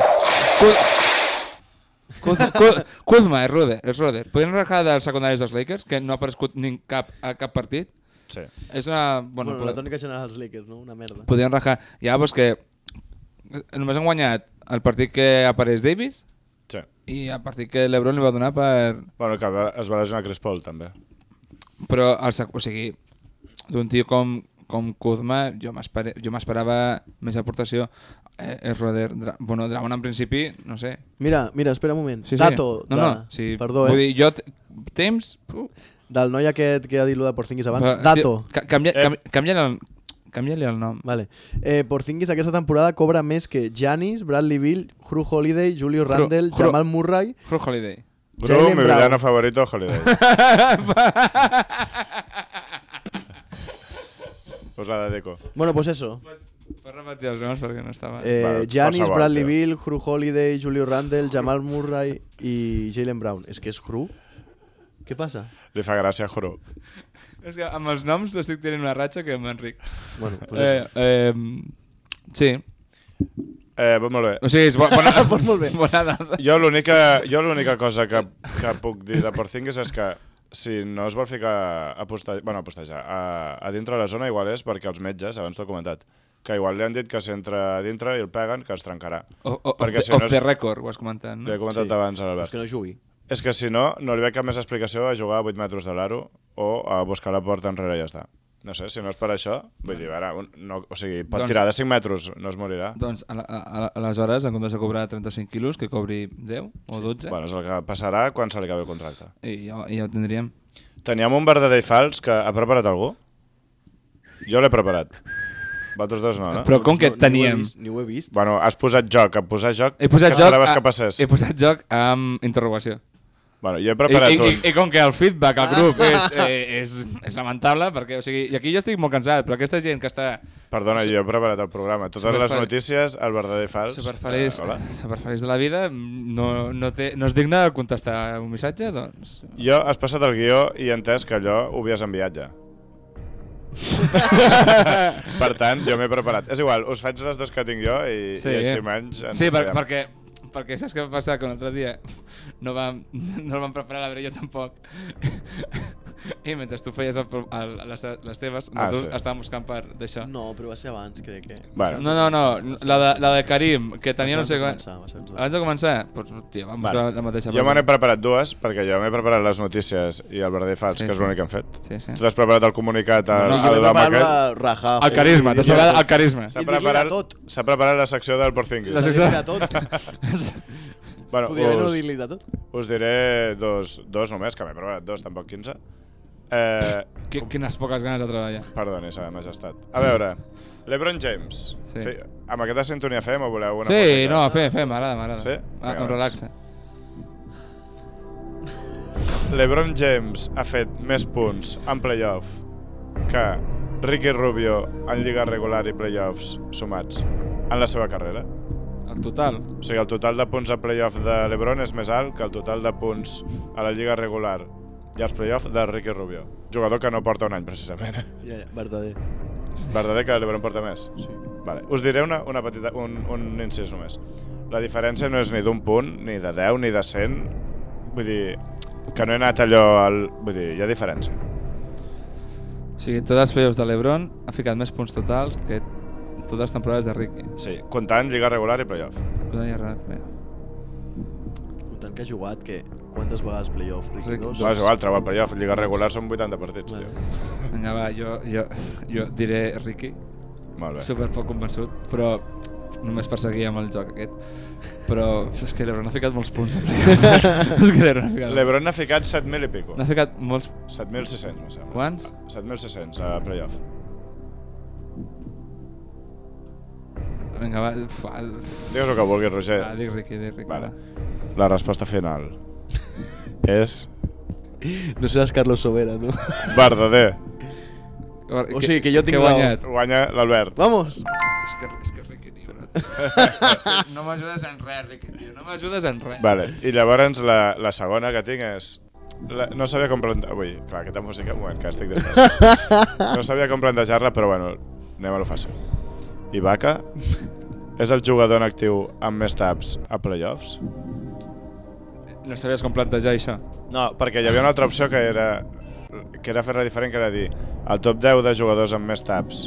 Speaker 4: Kuz- Kuz- Kuz- Kuzma, és Ruder, és Ruder. Podríem rajar dels secundaris dels Lakers, que no ha aparegut ni en cap, a cap partit.
Speaker 2: Sí.
Speaker 4: És una...
Speaker 3: Bueno,
Speaker 4: Bueno,
Speaker 3: bueno la tònica general dels Lakers, no? Una merda.
Speaker 4: podien rajar. Ja, doncs que eh, només han guanyat el partit que apareix Davis
Speaker 2: sí.
Speaker 4: i el partit que l'Ebron li va donar per...
Speaker 2: Bueno, que va- es va lesionar Chris Paul, també.
Speaker 4: Però, el, sec- o sigui, d'un tio com, com Kuzma, jo m'espere- jo m'esperava més aportació. Eh, és Roder, Dra bueno, Dramon en principi, no sé.
Speaker 3: Mira, mira, espera un moment.
Speaker 4: Sí, sí.
Speaker 3: Dato,
Speaker 4: no,
Speaker 3: de,
Speaker 4: no, sí,
Speaker 3: perdó, eh?
Speaker 4: vull dir, jo t- temps... Uh,
Speaker 3: Del noi aquest que ha dit lo de Porzingis abans.
Speaker 4: va,
Speaker 3: Dato.
Speaker 4: tio, ca- Canvia,
Speaker 2: Eh.
Speaker 4: cam, canvia-li el, canvia el nom.
Speaker 3: Vale. Eh, Porzingis aquesta temporada cobra més que Giannis, Bradley Bill, Jrue Holiday, Julio
Speaker 4: Jrue-
Speaker 3: Randle,
Speaker 4: Jrue-
Speaker 3: Jamal Murray...
Speaker 4: Drew Holiday.
Speaker 2: Gru,
Speaker 3: Jalen
Speaker 2: mi
Speaker 3: Brown.
Speaker 2: villano favorito, Holiday. pues la dedico.
Speaker 3: Bueno, pues eso.
Speaker 4: Pots, pots repetir els noms perquè no estava... Eh.
Speaker 2: Va,
Speaker 3: Eh, Giannis,
Speaker 2: qualsevol,
Speaker 3: Bradley
Speaker 2: tio.
Speaker 3: Bill, Hru Holiday, Julio Randle, Jamal Murray i Jalen Brown. És que és Hru? Què passa?
Speaker 2: Li fa gràcia, juro.
Speaker 4: És que amb els noms estic tenint una ratxa que m'enric.
Speaker 3: Bueno, pues
Speaker 4: Eh, eh, sí.
Speaker 2: Eh, va, molt bé.
Speaker 4: O sigui, és bo, bona,
Speaker 3: [laughs] Pues molt bé.
Speaker 4: bona dada.
Speaker 2: Jo l'única jo l'única cosa que, que puc dir de Porzingis és que si no es vol ficar a postejar, bueno, a postejar, a, a dintre de la zona igual és perquè els metges, abans t'ho he comentat, que igual li han dit que si entra a dintre i el peguen, que es trencarà.
Speaker 4: O, o, off,
Speaker 2: Perquè
Speaker 4: the,
Speaker 2: si no
Speaker 4: off
Speaker 2: és-
Speaker 4: the record, ho has comentat,
Speaker 2: Li he
Speaker 4: no?
Speaker 2: comentat
Speaker 3: Sí.
Speaker 2: sí. abans a
Speaker 3: Pues
Speaker 2: l'Albert.
Speaker 3: que no jugui.
Speaker 2: És que si no, no li veig cap més explicació a jugar a 8 metres de l'aro o a buscar la porta enrere i ja està. No sé, si no és per això, vull dir, ara, un- no, o sigui, pot
Speaker 4: Doncs-
Speaker 2: tirar de 5 metres, no es morirà.
Speaker 4: Doncs a, la- a, a, aleshores, en comptes de cobrar 35 quilos, que cobri 10 o 12,
Speaker 2: Bueno, és el que passarà quan se li acabi el contracte.
Speaker 4: i ja, i ja ho tindríem.
Speaker 2: Teníem un verdader i fals que ha preparat algú? Jo l'he preparat. Vosaltres dos no, no?
Speaker 4: Però com que
Speaker 3: No-
Speaker 4: teníem...
Speaker 3: Ni ho he vist. Ni ho he vist.
Speaker 2: Bueno, has posat joc, a posar joc...
Speaker 4: He posat,
Speaker 2: que
Speaker 4: joc
Speaker 2: esperaves
Speaker 4: a-
Speaker 2: que passés.
Speaker 4: he posat joc amb interrogació.
Speaker 2: Bueno, jo he
Speaker 4: I,
Speaker 2: preparat
Speaker 4: i, i,
Speaker 2: un.
Speaker 4: I com que el feedback al grup és,
Speaker 3: [laughs]
Speaker 4: eh, és, és lamentable, perquè, o sigui, i aquí jo estic molt cansat, però aquesta gent que està
Speaker 2: Perdona, jo he preparat el programa. Totes les
Speaker 4: Superfal-
Speaker 2: notícies, el verdader i fals...
Speaker 4: superfeliç,
Speaker 2: Eh, hola.
Speaker 4: superfeliç de la vida no, no, té, no és digna de contestar un missatge,
Speaker 3: [laughs]
Speaker 4: doncs...
Speaker 2: Jo has passat el guió i he entès que allò ho havies enviat
Speaker 4: [laughs]
Speaker 2: ja. per tant, jo m'he preparat. És igual, us faig les dues que tinc jo i, sí, i així menys... ens
Speaker 4: eh. Sí, per,
Speaker 2: estallem.
Speaker 4: perquè, perquè saps què va passar? Que l'altre dia no vam, [laughs] no el vam preparar, la veritat, jo tampoc. [laughs] I mentre tu feies el, pro- el, les, les teves,
Speaker 2: Ah,
Speaker 4: ah, nosaltres
Speaker 2: sí.
Speaker 4: sí. estàvem buscant per d'això.
Speaker 3: No, però va ser abans, crec que.
Speaker 2: Bueno.
Speaker 4: No, no, no, la de, la de Karim, que tenia no
Speaker 3: Abans
Speaker 4: sé
Speaker 3: de
Speaker 4: quan...
Speaker 3: començar, abans de començar.
Speaker 4: Abans de començar? Doncs, hòstia, vam vale. la mateixa
Speaker 2: Jo me n'he preparat dues, perquè jo m'he preparat les notícies i el verdader i fals,
Speaker 4: Sí,
Speaker 2: sí, que és
Speaker 4: sí.
Speaker 2: l'únic que hem fet.
Speaker 4: Sí, sí.
Speaker 2: Tu t'has preparat el comunicat al,
Speaker 4: No,
Speaker 2: no,
Speaker 4: no, jo
Speaker 2: no,
Speaker 4: m'he
Speaker 2: al dama
Speaker 3: Preparar-la
Speaker 2: aquest?
Speaker 3: Rajajo.
Speaker 4: El carisma, t'has preparat el carisma.
Speaker 2: S'ha
Speaker 3: I dir-li de
Speaker 2: preparat,
Speaker 3: tot.
Speaker 2: s'ha preparat la secció del Porzingis.
Speaker 4: La
Speaker 3: La
Speaker 4: secció-
Speaker 3: secció de tot.
Speaker 2: Bueno,
Speaker 3: Podria no
Speaker 2: us,
Speaker 3: dir-li de tot.
Speaker 2: us diré dos, dos només, que m'he preparat dos, tampoc 15. Eh,
Speaker 4: Qui- Quines poques ganes de treballar.
Speaker 2: perdoni, sa majestat. A veure, l'Ebron James.
Speaker 4: Sí.
Speaker 2: Fe, amb aquesta sintonia fem o voleu una
Speaker 4: sí,
Speaker 2: música?
Speaker 4: no, fem, fem, m'agrada, m'agrada.
Speaker 2: Sí?
Speaker 4: Ah,
Speaker 2: Vinga,
Speaker 4: em
Speaker 2: doncs.
Speaker 4: relaxa.
Speaker 2: LeBron James ha fet més punts en playoff que Ricky Rubio en lliga regular i playoffs sumats en la seva carrera.
Speaker 4: El total.
Speaker 2: O sigui, el total de punts a playoff de LeBron és més alt que el total de punts a la lliga regular i als playoffs de Ricky Rubio. Jugador que no porta un any, precisament.
Speaker 3: Ja, ja, verdader.
Speaker 2: Verdader que LeBron porta més.
Speaker 3: Sí.
Speaker 2: Vale. Us diré una, una petita, un, un incís només. La diferència no és ni d'un punt, ni de 10, ni de 100. Vull dir, que no he anat allò... Al... Vull dir, hi ha diferència.
Speaker 4: O sigui, totes les playoffs de l'Ebron ha ficat més punts totals que totes les temporades de Ricky.
Speaker 2: Sí, comptant lliga regular i playoff.
Speaker 4: No hi ha res, res.
Speaker 3: Comptant que ha jugat, que quantes vegades playoff, Ricky?
Speaker 4: Ricky,
Speaker 3: Dos?
Speaker 2: No, és igual, trobar playoff, lliga regular són 80 partits,
Speaker 3: Vale.
Speaker 2: tio.
Speaker 4: Vinga, va, jo, jo, jo diré Ricky,
Speaker 2: Molt bé.
Speaker 4: super poc convençut, però només per seguir amb el joc aquest. Però és que l'Ebron ha ficat molts punts. a
Speaker 2: [laughs]
Speaker 4: playoff. és que l'Ebron ha ficat...
Speaker 2: L'Ebron n'ha ficat 7.000 i pico.
Speaker 4: N'ha ficat molts...
Speaker 2: 7.600, me sembla.
Speaker 4: Quants?
Speaker 2: 7.600 a playoff.
Speaker 4: Vinga, va, fa...
Speaker 2: Digues el que vulguis, Roger.
Speaker 4: Va, dic Ricky, dic Ricky.
Speaker 2: Vale.
Speaker 4: va.
Speaker 2: La resposta final és
Speaker 3: [laughs] No seràs Carlos Sobera, no?
Speaker 2: verdader.
Speaker 4: veure,
Speaker 3: O
Speaker 4: que-
Speaker 3: sigui, que jo
Speaker 4: que
Speaker 3: tinc
Speaker 4: he
Speaker 3: raó.
Speaker 4: guanyat.
Speaker 2: Guanya l'Albert.
Speaker 3: Vamos!
Speaker 4: És que, és que
Speaker 2: [laughs]
Speaker 4: reequilibra. és que no m'ajudes en res, Ricky, tio. No m'ajudes en res.
Speaker 2: Vale. I llavors la, la segona que tinc és... La, no sabia com plantejar... Ui, clar, aquesta música... Un moment, que estic després. No sabia com plantejar-la, però bueno, anem a lo fàcil. Ibaka és el jugador en actiu amb més taps a playoffs?
Speaker 4: No sabies com plantejar això.
Speaker 2: No, perquè hi havia una altra opció que era que era fer-la diferent, que era dir el top 10 de jugadors amb més taps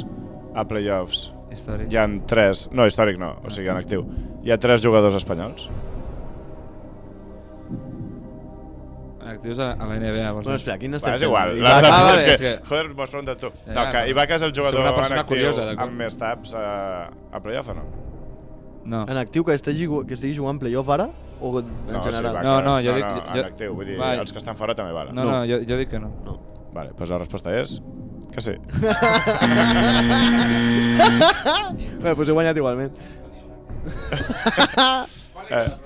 Speaker 2: a playoffs
Speaker 4: Històric.
Speaker 2: hi han 3, no, històric no, o sigui en actiu hi ha 3 jugadors espanyols
Speaker 4: Actius a, a la NBA, vols
Speaker 3: Bueno, espera, quin estem
Speaker 2: Va, és igual,
Speaker 3: fent?
Speaker 2: l'altra
Speaker 4: Ibaka-
Speaker 2: ah,
Speaker 4: vale,
Speaker 2: és que,
Speaker 4: és que-
Speaker 2: joder, m'ho has preguntat tu
Speaker 4: Ja,
Speaker 2: no,
Speaker 4: ja,
Speaker 2: que
Speaker 4: però-
Speaker 2: Ibaka és el
Speaker 4: Soc
Speaker 2: jugador
Speaker 4: una persona
Speaker 2: en actiu
Speaker 4: curiosa, d'acord.
Speaker 2: amb més taps a, a playoff o no?
Speaker 4: No.
Speaker 3: En actiu que estigui, ju- que estigui jugant playoff ara? O en
Speaker 2: No,
Speaker 3: general?
Speaker 2: Ibaka-
Speaker 4: No, no, jo
Speaker 2: no,
Speaker 4: dic-
Speaker 2: no,
Speaker 4: jo-
Speaker 2: en actiu, vull dir,
Speaker 4: Va.
Speaker 2: els que estan fora també valen
Speaker 4: No, no, jo, jo dic que no.
Speaker 3: no.
Speaker 2: vale, doncs la resposta és
Speaker 4: [laughs]
Speaker 2: que sí
Speaker 3: Bé, doncs he guanyat igualment. [laughs]
Speaker 2: eh,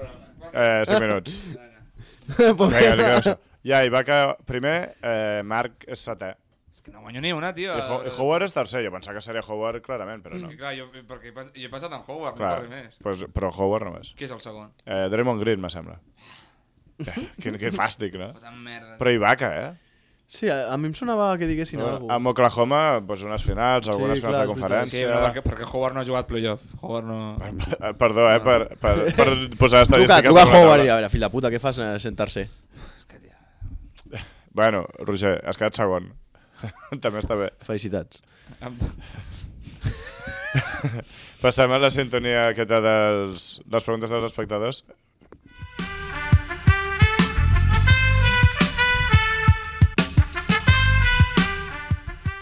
Speaker 2: eh, 5 minuts
Speaker 3: Pobre.
Speaker 2: Vinga, li queda això. Ja, Ibaka primer, eh, Marc és setè.
Speaker 4: És que no guanyo ni una, tio.
Speaker 2: I Ho- i Howard és tercer, jo pensava que seria Howard clarament, però no.
Speaker 4: No. Eh. Mm, Clar, jo, perquè he pens- jo he pensat en Howard,
Speaker 2: Clar,
Speaker 4: no parli més.
Speaker 2: pues, però Howard només.
Speaker 4: Qui és el segon?
Speaker 2: Eh, Draymond Green, me
Speaker 4: [laughs]
Speaker 2: sembla. quin, quin fàstic, no?
Speaker 4: Puta merda.
Speaker 2: Però Ibaka, eh?
Speaker 3: Sí, a, a mi em sonava que diguessin no, alguna
Speaker 2: Amb Oklahoma, doncs, unes finals, algunes finals de
Speaker 3: clar, és veritat.
Speaker 2: conferència...
Speaker 4: Sí, però perquè, perquè Howard no ha jugat playoff. Howard no...
Speaker 2: Eh, Perdó, eh, per, per, per posar
Speaker 3: Truca,
Speaker 2: estadístiques...
Speaker 3: truca a
Speaker 2: sobre la
Speaker 3: Howard i
Speaker 2: taula.
Speaker 3: a veure, fill de puta, què fas eh, sent tercer?
Speaker 4: És que,
Speaker 2: [laughs]
Speaker 4: tia...
Speaker 2: Bueno, Roger, has quedat segon. [laughs] També està bé. [laughs]
Speaker 3: Felicitats.
Speaker 4: Em-
Speaker 2: Passem a la sintonia aquesta dels, les preguntes dels espectadors.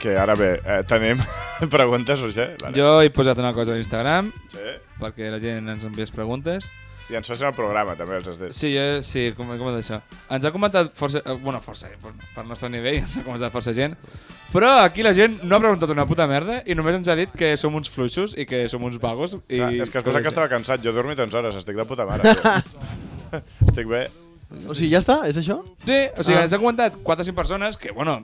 Speaker 2: Que ara bé, eh, tenim [laughs] preguntes, Roger? Vale.
Speaker 4: Jo he posat una cosa a Instagram
Speaker 2: Sí.
Speaker 4: perquè la gent ens enviés preguntes.
Speaker 2: I ens facin el programa, també, els has dit.
Speaker 4: Sí, jo, sí, com, com és això? Ens ha comentat força... eh, Bueno, força, eh, per, per nostre nivell, [laughs] ens ha comentat força gent. Però aquí la gent no ha preguntat una puta merda i només ens ha dit que som uns fluixos i que som uns vagos. I
Speaker 2: Clar, és que es
Speaker 4: coses
Speaker 2: pensa que
Speaker 4: així.
Speaker 2: estava cansat. Jo he dormit 11 hores, estic de puta mare. tio.
Speaker 3: [laughs]
Speaker 2: estic bé.
Speaker 3: O sigui, ja està? És això?
Speaker 4: Sí, o sigui,
Speaker 3: Ah.
Speaker 4: ens ha comentat 4 o 5 persones que, bueno...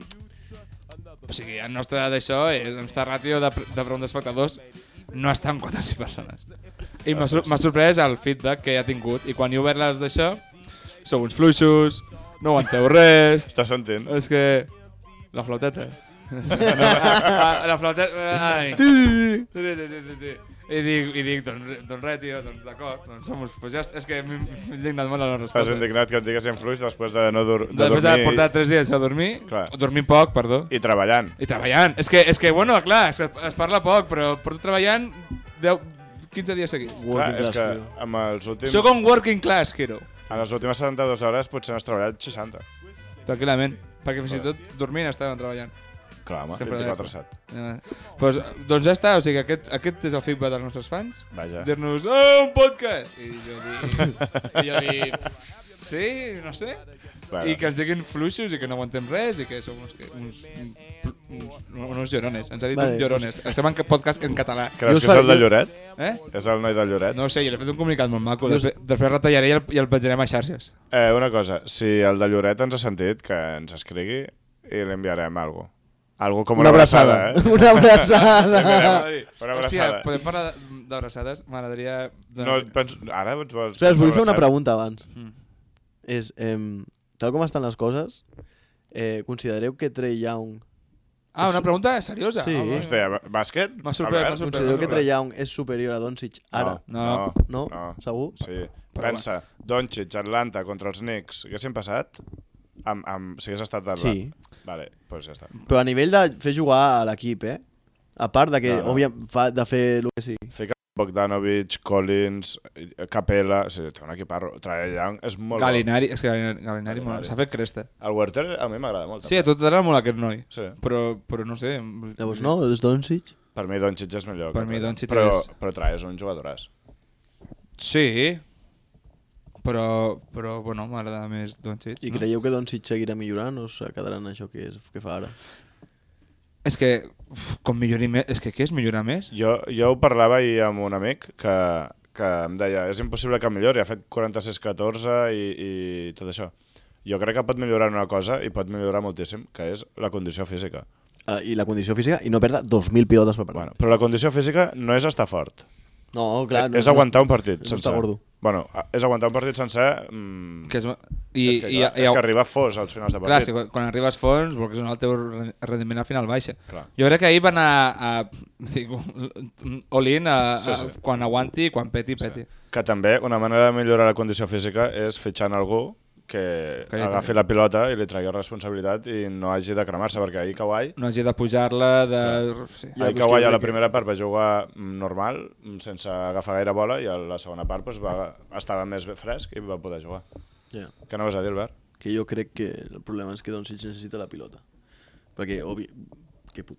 Speaker 4: O sigui, el nostre d'això, eh, la nostra ràtio de, pre- de preguntes espectadors no està en 4 o 5 persones. I m'ha sor- m'ha sorprès el feedback que ha tingut. I quan he obert les d'això, sou uns fluixos, no aguanteu res...
Speaker 2: Estàs sentint?
Speaker 3: Eh,
Speaker 4: És que... La flauteta. la, la flauteta... Ai. I dic, i dic doncs, re- doncs res, tio, doncs d'acord, doncs som uns... Pues ja, est- és que m'he m'he indignat molt a la
Speaker 2: Estàs
Speaker 4: resposta.
Speaker 2: indignat que et diguessin fluix després de no dur de
Speaker 4: Després de
Speaker 2: dormir
Speaker 4: portar tres dies a dormir,
Speaker 2: Clar.
Speaker 4: dormir poc, perdó,
Speaker 2: i treballant.
Speaker 4: i treballant. És que, és que bueno, clar, és que es parla poc, però porto treballant 10, 15 dies seguits.
Speaker 2: Clar,
Speaker 3: Working
Speaker 2: és
Speaker 3: class
Speaker 2: que
Speaker 3: hero.
Speaker 2: amb els últims,
Speaker 4: Sóc un working class hero,
Speaker 2: en les últimes 72 hores potser n'has treballat 60.
Speaker 4: tranquil·lament, perquè fins i tot dormint estàvem treballant.
Speaker 2: Clar, home,
Speaker 4: Sempre
Speaker 2: 24-7.
Speaker 4: Eh, Pues, doncs ja està, o sigui, aquest, aquest és el feedback dels nostres fans.
Speaker 2: Vaja.
Speaker 4: Dir-nos, oh, un podcast! I jo dic, i jo dic sí, no sé.
Speaker 2: Bueno.
Speaker 4: I que ens diguin fluixos i que no aguantem res i que som uns, que- uns, uns, uns llorones. Ens ha dit
Speaker 3: Vale, doncs-
Speaker 4: uns llorones. Ens sembla que podcast en català.
Speaker 3: Jo
Speaker 2: Creus
Speaker 3: us
Speaker 2: que és el
Speaker 3: faré-
Speaker 2: de Lloret?
Speaker 4: Eh?
Speaker 2: És el noi de Lloret?
Speaker 4: No ho sé, jo li he fet un comunicat molt maco.
Speaker 3: Jo us-
Speaker 4: Després, després retallaré i el, i el penjarem a
Speaker 2: [laughs]
Speaker 4: xarxes.
Speaker 2: Eh, una cosa, si el de Lloret ens ha sentit, que ens escrigui i li enviarem alguna cosa. Algo com una, eh?
Speaker 3: [laughs] Una
Speaker 2: [laughs]
Speaker 3: abraçada.
Speaker 2: Una abraçada.
Speaker 4: Hòstia, podem parlar de- d'abraçades? M'agradaria...
Speaker 2: No, penso, ara ens vols...
Speaker 3: Espera, us vull fer una
Speaker 2: abraçar?
Speaker 3: pregunta abans.
Speaker 4: Mm.
Speaker 3: És, em, tal com estan les coses, eh, considereu que Trey Young
Speaker 4: Ah, una pregunta seriosa. Ah,
Speaker 3: Sí.
Speaker 4: Home.
Speaker 2: Hòstia, bà- bàsquet?
Speaker 4: M'ha sorprès,
Speaker 2: Albert?
Speaker 4: m'ha sorprès.
Speaker 3: Considereu que
Speaker 4: Sobre.
Speaker 3: Trey Young és superior a Doncic ara?
Speaker 4: No.
Speaker 3: No?
Speaker 2: no.
Speaker 3: Segur?
Speaker 2: Sí.
Speaker 4: Però
Speaker 2: Pensa, Doncic, Atlanta contra els Knicks, haguessin passat? Amb, amb, si hagués estat d'Atlanta.
Speaker 3: Sí.
Speaker 2: Vale, doncs ja està.
Speaker 3: Però a nivell de fer jugar a l'equip, eh? A part de que,
Speaker 2: No,
Speaker 3: no,
Speaker 2: no.
Speaker 3: no. òbviament, fa de fer el que sigui.
Speaker 2: Fica Bogdanovic, Collins, eh, Capella... O sigui, té un equiparro. Trae Young és molt
Speaker 4: Galinari, és que Galinari, Galinari, Galinari.
Speaker 2: Gallinari.
Speaker 4: s'ha fet cresta.
Speaker 2: bo. El Werther a mi m'agrada molt.
Speaker 4: Sí, a tot t'agrada molt aquest noi.
Speaker 2: Sí.
Speaker 4: Però, però no sé... em-
Speaker 3: Llavors, no? És Doncic?
Speaker 2: Per mi Doncic és millor.
Speaker 4: Per
Speaker 2: que
Speaker 4: mi
Speaker 2: Trae.
Speaker 4: Doncic
Speaker 2: però,
Speaker 4: és-
Speaker 2: Però Trae és un jugadoràs.
Speaker 4: Sí, però, però bueno, m'agrada més Doncic.
Speaker 3: I
Speaker 4: no?
Speaker 3: creieu que Doncic seguirà millorant o se quedarà en això que, és, que fa ara?
Speaker 4: És que, uf, com millori més... És que què és millorar més?
Speaker 2: Jo, jo ho parlava ahir amb un amic que, que em deia és impossible que millori, ha fet 46-14 i, i tot això. Jo crec que pot millorar en una cosa i pot millorar moltíssim, que és la condició física.
Speaker 3: Ah, I la condició física? I no perdre 2.000 pilotes per
Speaker 2: Bueno,
Speaker 3: partit.
Speaker 2: però la condició física no és estar fort. Eh,
Speaker 3: No, clar.
Speaker 2: és
Speaker 3: no,
Speaker 2: aguantar un partit
Speaker 3: no
Speaker 2: sencer.
Speaker 3: està gordo.
Speaker 2: Bueno, a- és aguantar un partit sencer... Mm,
Speaker 4: Que és,
Speaker 2: i,
Speaker 4: i,
Speaker 2: és, que, clar,
Speaker 4: i,
Speaker 2: és
Speaker 4: i,
Speaker 2: que arriba fos als finals de
Speaker 4: Clar, és
Speaker 2: partit.
Speaker 4: que quan, quan arribes fons, vols que sonar el teu re- rendiment al final baixa.
Speaker 2: Clar.
Speaker 4: Jo crec que ahir van anar a, dic, [laughs] all-in a,
Speaker 2: Sí,
Speaker 4: a,
Speaker 2: sí.
Speaker 4: quan aguanti i quan peti, peti.
Speaker 2: que... que també una manera de millorar la condició física és fitxant algú que,
Speaker 4: Que li
Speaker 2: agafi
Speaker 4: tregui.
Speaker 2: la pilota i li tregui responsabilitat i no hagi de cremar-se, perquè ahir Kawhi
Speaker 4: No hagi de pujar-la, de... Sí.
Speaker 2: Ahir que guanya la primera part va jugar mm, normal, mm, sense agafar gaire bola, i a la segona part doncs, va, estava més bé fresc i va poder jugar.
Speaker 3: Ja.
Speaker 2: Què no vas a dir, Albert?
Speaker 3: Que jo crec que el problema és que Doncic necessita la pilota. Perquè, obvi, que po-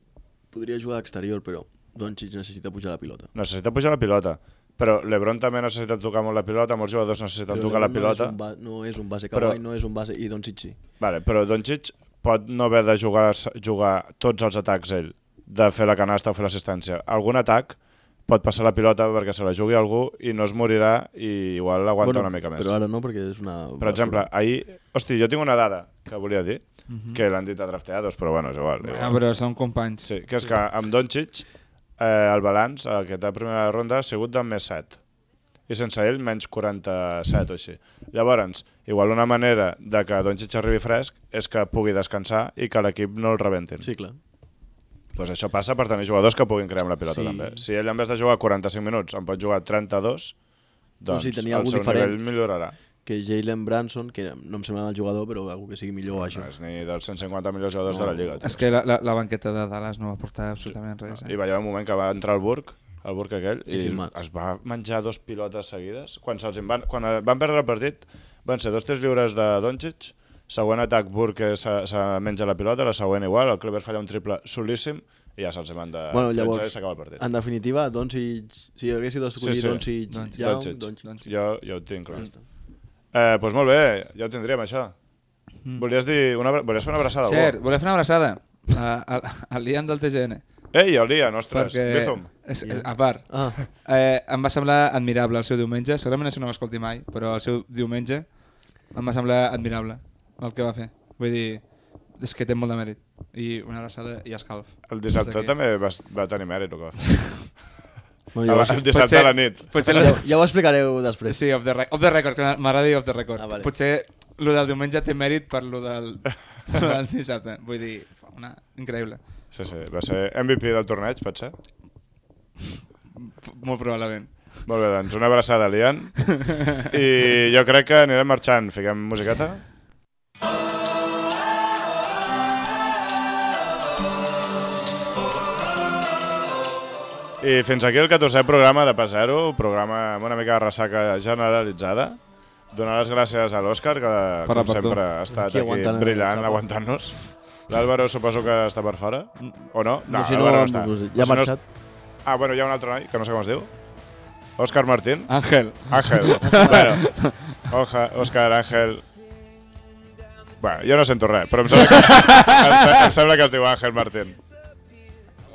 Speaker 3: podria jugar d'exterior, però Doncic necessita pujar la pilota.
Speaker 2: Necessita pujar la pilota, però l'Ebron també necessita tocar molt la pilota, molts jugadors necessiten
Speaker 3: Però
Speaker 2: tocar la
Speaker 3: no
Speaker 2: pilota.
Speaker 3: És un ba no és un base,
Speaker 2: Però-
Speaker 3: Kawhi no és un base, i Doncic sí.
Speaker 2: Vale, però Doncic pot no haver de jugar, jugar tots els atacs ell, de fer la canasta o fer l'assistència. Algun atac pot passar la pilota perquè se la jugui algú i no es morirà i igual l'aguanta bueno, una mica més.
Speaker 3: Però ara no, perquè és una...
Speaker 2: Per exemple, ahir... Hosti, jo tinc una dada que volia dir. que l'han dit a drafteados, però bueno, és igual.
Speaker 4: Bueno,
Speaker 2: igual.
Speaker 4: Ah, però són companys.
Speaker 2: Sí, que és que amb Doncic eh, el balanç a aquesta primera ronda ha sigut de més 7 i sense ell menys 47 o així. Llavors, igual una manera de que Doncic arribi fresc és que pugui descansar i que l'equip no el rebentin.
Speaker 3: Sí, clar.
Speaker 2: Pues això passa per tenir jugadors que puguin crear amb la pilota
Speaker 3: Sí.
Speaker 2: sí. també. Si ell en vez de jugar 45 minuts en pot jugar 32,
Speaker 3: O
Speaker 2: doncs
Speaker 3: sigui, tenir
Speaker 2: el
Speaker 3: algú
Speaker 2: seu
Speaker 3: diferent.
Speaker 2: nivell millorarà.
Speaker 3: Que Jalen Branson, que no em sembla el jugador, però algú que sigui millor a això.
Speaker 2: No és ni dels 150 millors jugadors de la Lliga. tio.
Speaker 4: És que la, la, la banqueta de Dallas no va portar absolutament res.
Speaker 2: I
Speaker 4: Eh?
Speaker 2: va haver un moment que va entrar el Burg, el Burg aquell, i
Speaker 3: Sí, sí, mal.
Speaker 2: es va menjar dos pilotes seguides. Quan, se'ls en van, quan eh, van perdre el partit, van ser dos tirs lliures de Doncic, següent atac Burg que se, se menja la pilota, la següent igual, el Kleber falla un triple solíssim, i ja se'ls en van de
Speaker 3: Bueno,
Speaker 2: 13
Speaker 3: llavors,
Speaker 2: i s'acaba el partit.
Speaker 3: En definitiva, Doncic, si haguéssiu d'escollir
Speaker 2: Sí, sí.
Speaker 3: sí, sí. Doncic,
Speaker 4: Doncic.
Speaker 3: Young, Doncic.
Speaker 2: Doncic. Jo, jo ho tinc clar. Doncs eh, pues molt bé, ja ho tindríem, això. Mm. Volies, dir una, abra- volies fer una abraçada? a algú?
Speaker 4: Cert, volem fer una abraçada a- al- al Liam del TGN.
Speaker 2: Ei, el Lian, ostres,
Speaker 4: Perquè,
Speaker 2: Bizum.
Speaker 4: és, és, a part,
Speaker 2: [laughs]
Speaker 3: Ah,
Speaker 4: eh, em va semblar admirable el seu diumenge. Segurament això no ho escolti mai, però el seu diumenge em va semblar admirable el que va fer. Vull dir, és que té molt de mèrit. I una abraçada i escalf.
Speaker 2: El
Speaker 4: Des
Speaker 2: dissabte
Speaker 4: d'aquí.
Speaker 2: també va, va tenir mèrit, o què?
Speaker 3: bueno,
Speaker 2: El,
Speaker 3: ja,
Speaker 2: el dissabte a la nit.
Speaker 4: Potser,
Speaker 3: ja, ja ho explicareu després.
Speaker 4: Sí, off the, re- off the record, que m'agrada dir off the record.
Speaker 3: Ah, vale.
Speaker 4: Potser el del diumenge té mèrit per el del, lo del dissabte. Vull dir, fa una... increïble.
Speaker 2: Sí, sí, va ser MVP del torneig, potser?
Speaker 4: P- Molt probablement.
Speaker 2: Molt bé, doncs una abraçada,
Speaker 3: [laughs]
Speaker 2: Lian. I jo crec que anirem marxant. Fiquem musiqueta? I fins aquí el 14è programa de Passaro, programa amb una mica de ressaca generalitzada. Donar les gràcies a l'Òscar, que
Speaker 4: Per
Speaker 2: com
Speaker 4: apartó.
Speaker 2: sempre ha estat
Speaker 3: Aquí
Speaker 2: aquí,
Speaker 3: aguantant el
Speaker 2: brillant,
Speaker 3: xapa.
Speaker 2: aguantant-nos. L'Àlvaro suposo que està per fora, o no?
Speaker 3: No, si no,
Speaker 2: l'Àlvaro està.
Speaker 3: no sé,
Speaker 2: O
Speaker 3: ja ha
Speaker 2: si no,
Speaker 3: marxat.
Speaker 2: Ah, bueno, hi ha un altre noi, que no sé com es diu. Òscar Martín.
Speaker 4: Àngel,
Speaker 2: Ángel. bueno, Oja, Òscar, Àngel... Bueno, jo no sento res, però em sembla que, em, se- em sembla que es diu Àngel Martín.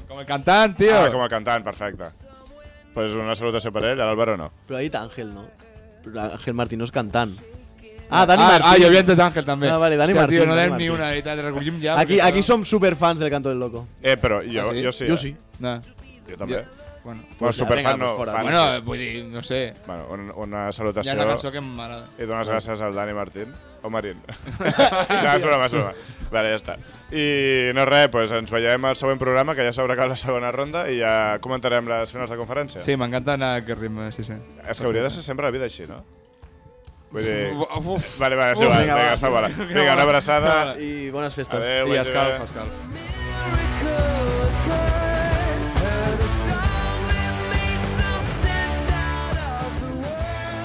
Speaker 4: com el cantant, tio!
Speaker 2: Ah, com el cantant, perfecte. Pues una salutació per ell, a l'Àlvaro no.
Speaker 3: Però ha dit Àngel, no? Però Àngel Martín no és cantant. Ah, Dani
Speaker 4: ah,
Speaker 3: Martín.
Speaker 4: Ah, jo havia entès Àngel, també.
Speaker 3: Ah, vale, Dani
Speaker 4: Hòstia,
Speaker 3: Martín,
Speaker 4: Tio, no
Speaker 3: Dani
Speaker 4: dèiem ni
Speaker 3: Martín.
Speaker 4: una, de veritat, recollim ja.
Speaker 3: Aquí,
Speaker 4: perquè
Speaker 3: aquí
Speaker 4: no-
Speaker 3: som superfans del Canto del Loco.
Speaker 2: Eh, però jo,
Speaker 4: Ah, sí?
Speaker 2: jo sí,
Speaker 3: jo
Speaker 2: eh?
Speaker 3: sí.
Speaker 4: No.
Speaker 2: Jo també.
Speaker 4: Bueno,
Speaker 2: Bueno,
Speaker 3: Pues ja,
Speaker 2: superfan
Speaker 3: vinga,
Speaker 2: no,
Speaker 3: pues fora.
Speaker 2: fan.
Speaker 4: bueno vull dir, no sé.
Speaker 2: Bueno, un, una
Speaker 4: Hi ha
Speaker 2: salutació
Speaker 4: una cançó que m'agrada.
Speaker 2: i dones gràcies al Dani Martín. O
Speaker 4: [laughs]
Speaker 2: Marín. no, és broma, és broma. Vale, ja està. I no res, pues ens veiem al següent programa, que ja s'haurà acabat la segona ronda i ja comentarem les finals de conferència.
Speaker 4: Sí, m'encanta anar a aquest ritme, sí, sí.
Speaker 2: És que hauria de ser sempre la vida així, no? Vull dir...
Speaker 4: Uf, uf.
Speaker 2: Vale, vale, sí,
Speaker 4: Uf,
Speaker 2: va,
Speaker 4: vinga,
Speaker 2: vinga,
Speaker 4: va.
Speaker 2: vinga, es fa bola. Vinga, una abraçada.
Speaker 3: I bones festes.
Speaker 2: Adéu,
Speaker 4: I
Speaker 2: vagi
Speaker 4: escalf,
Speaker 2: bé.
Speaker 4: escalf.
Speaker 5: And a song that made some sense out of the world.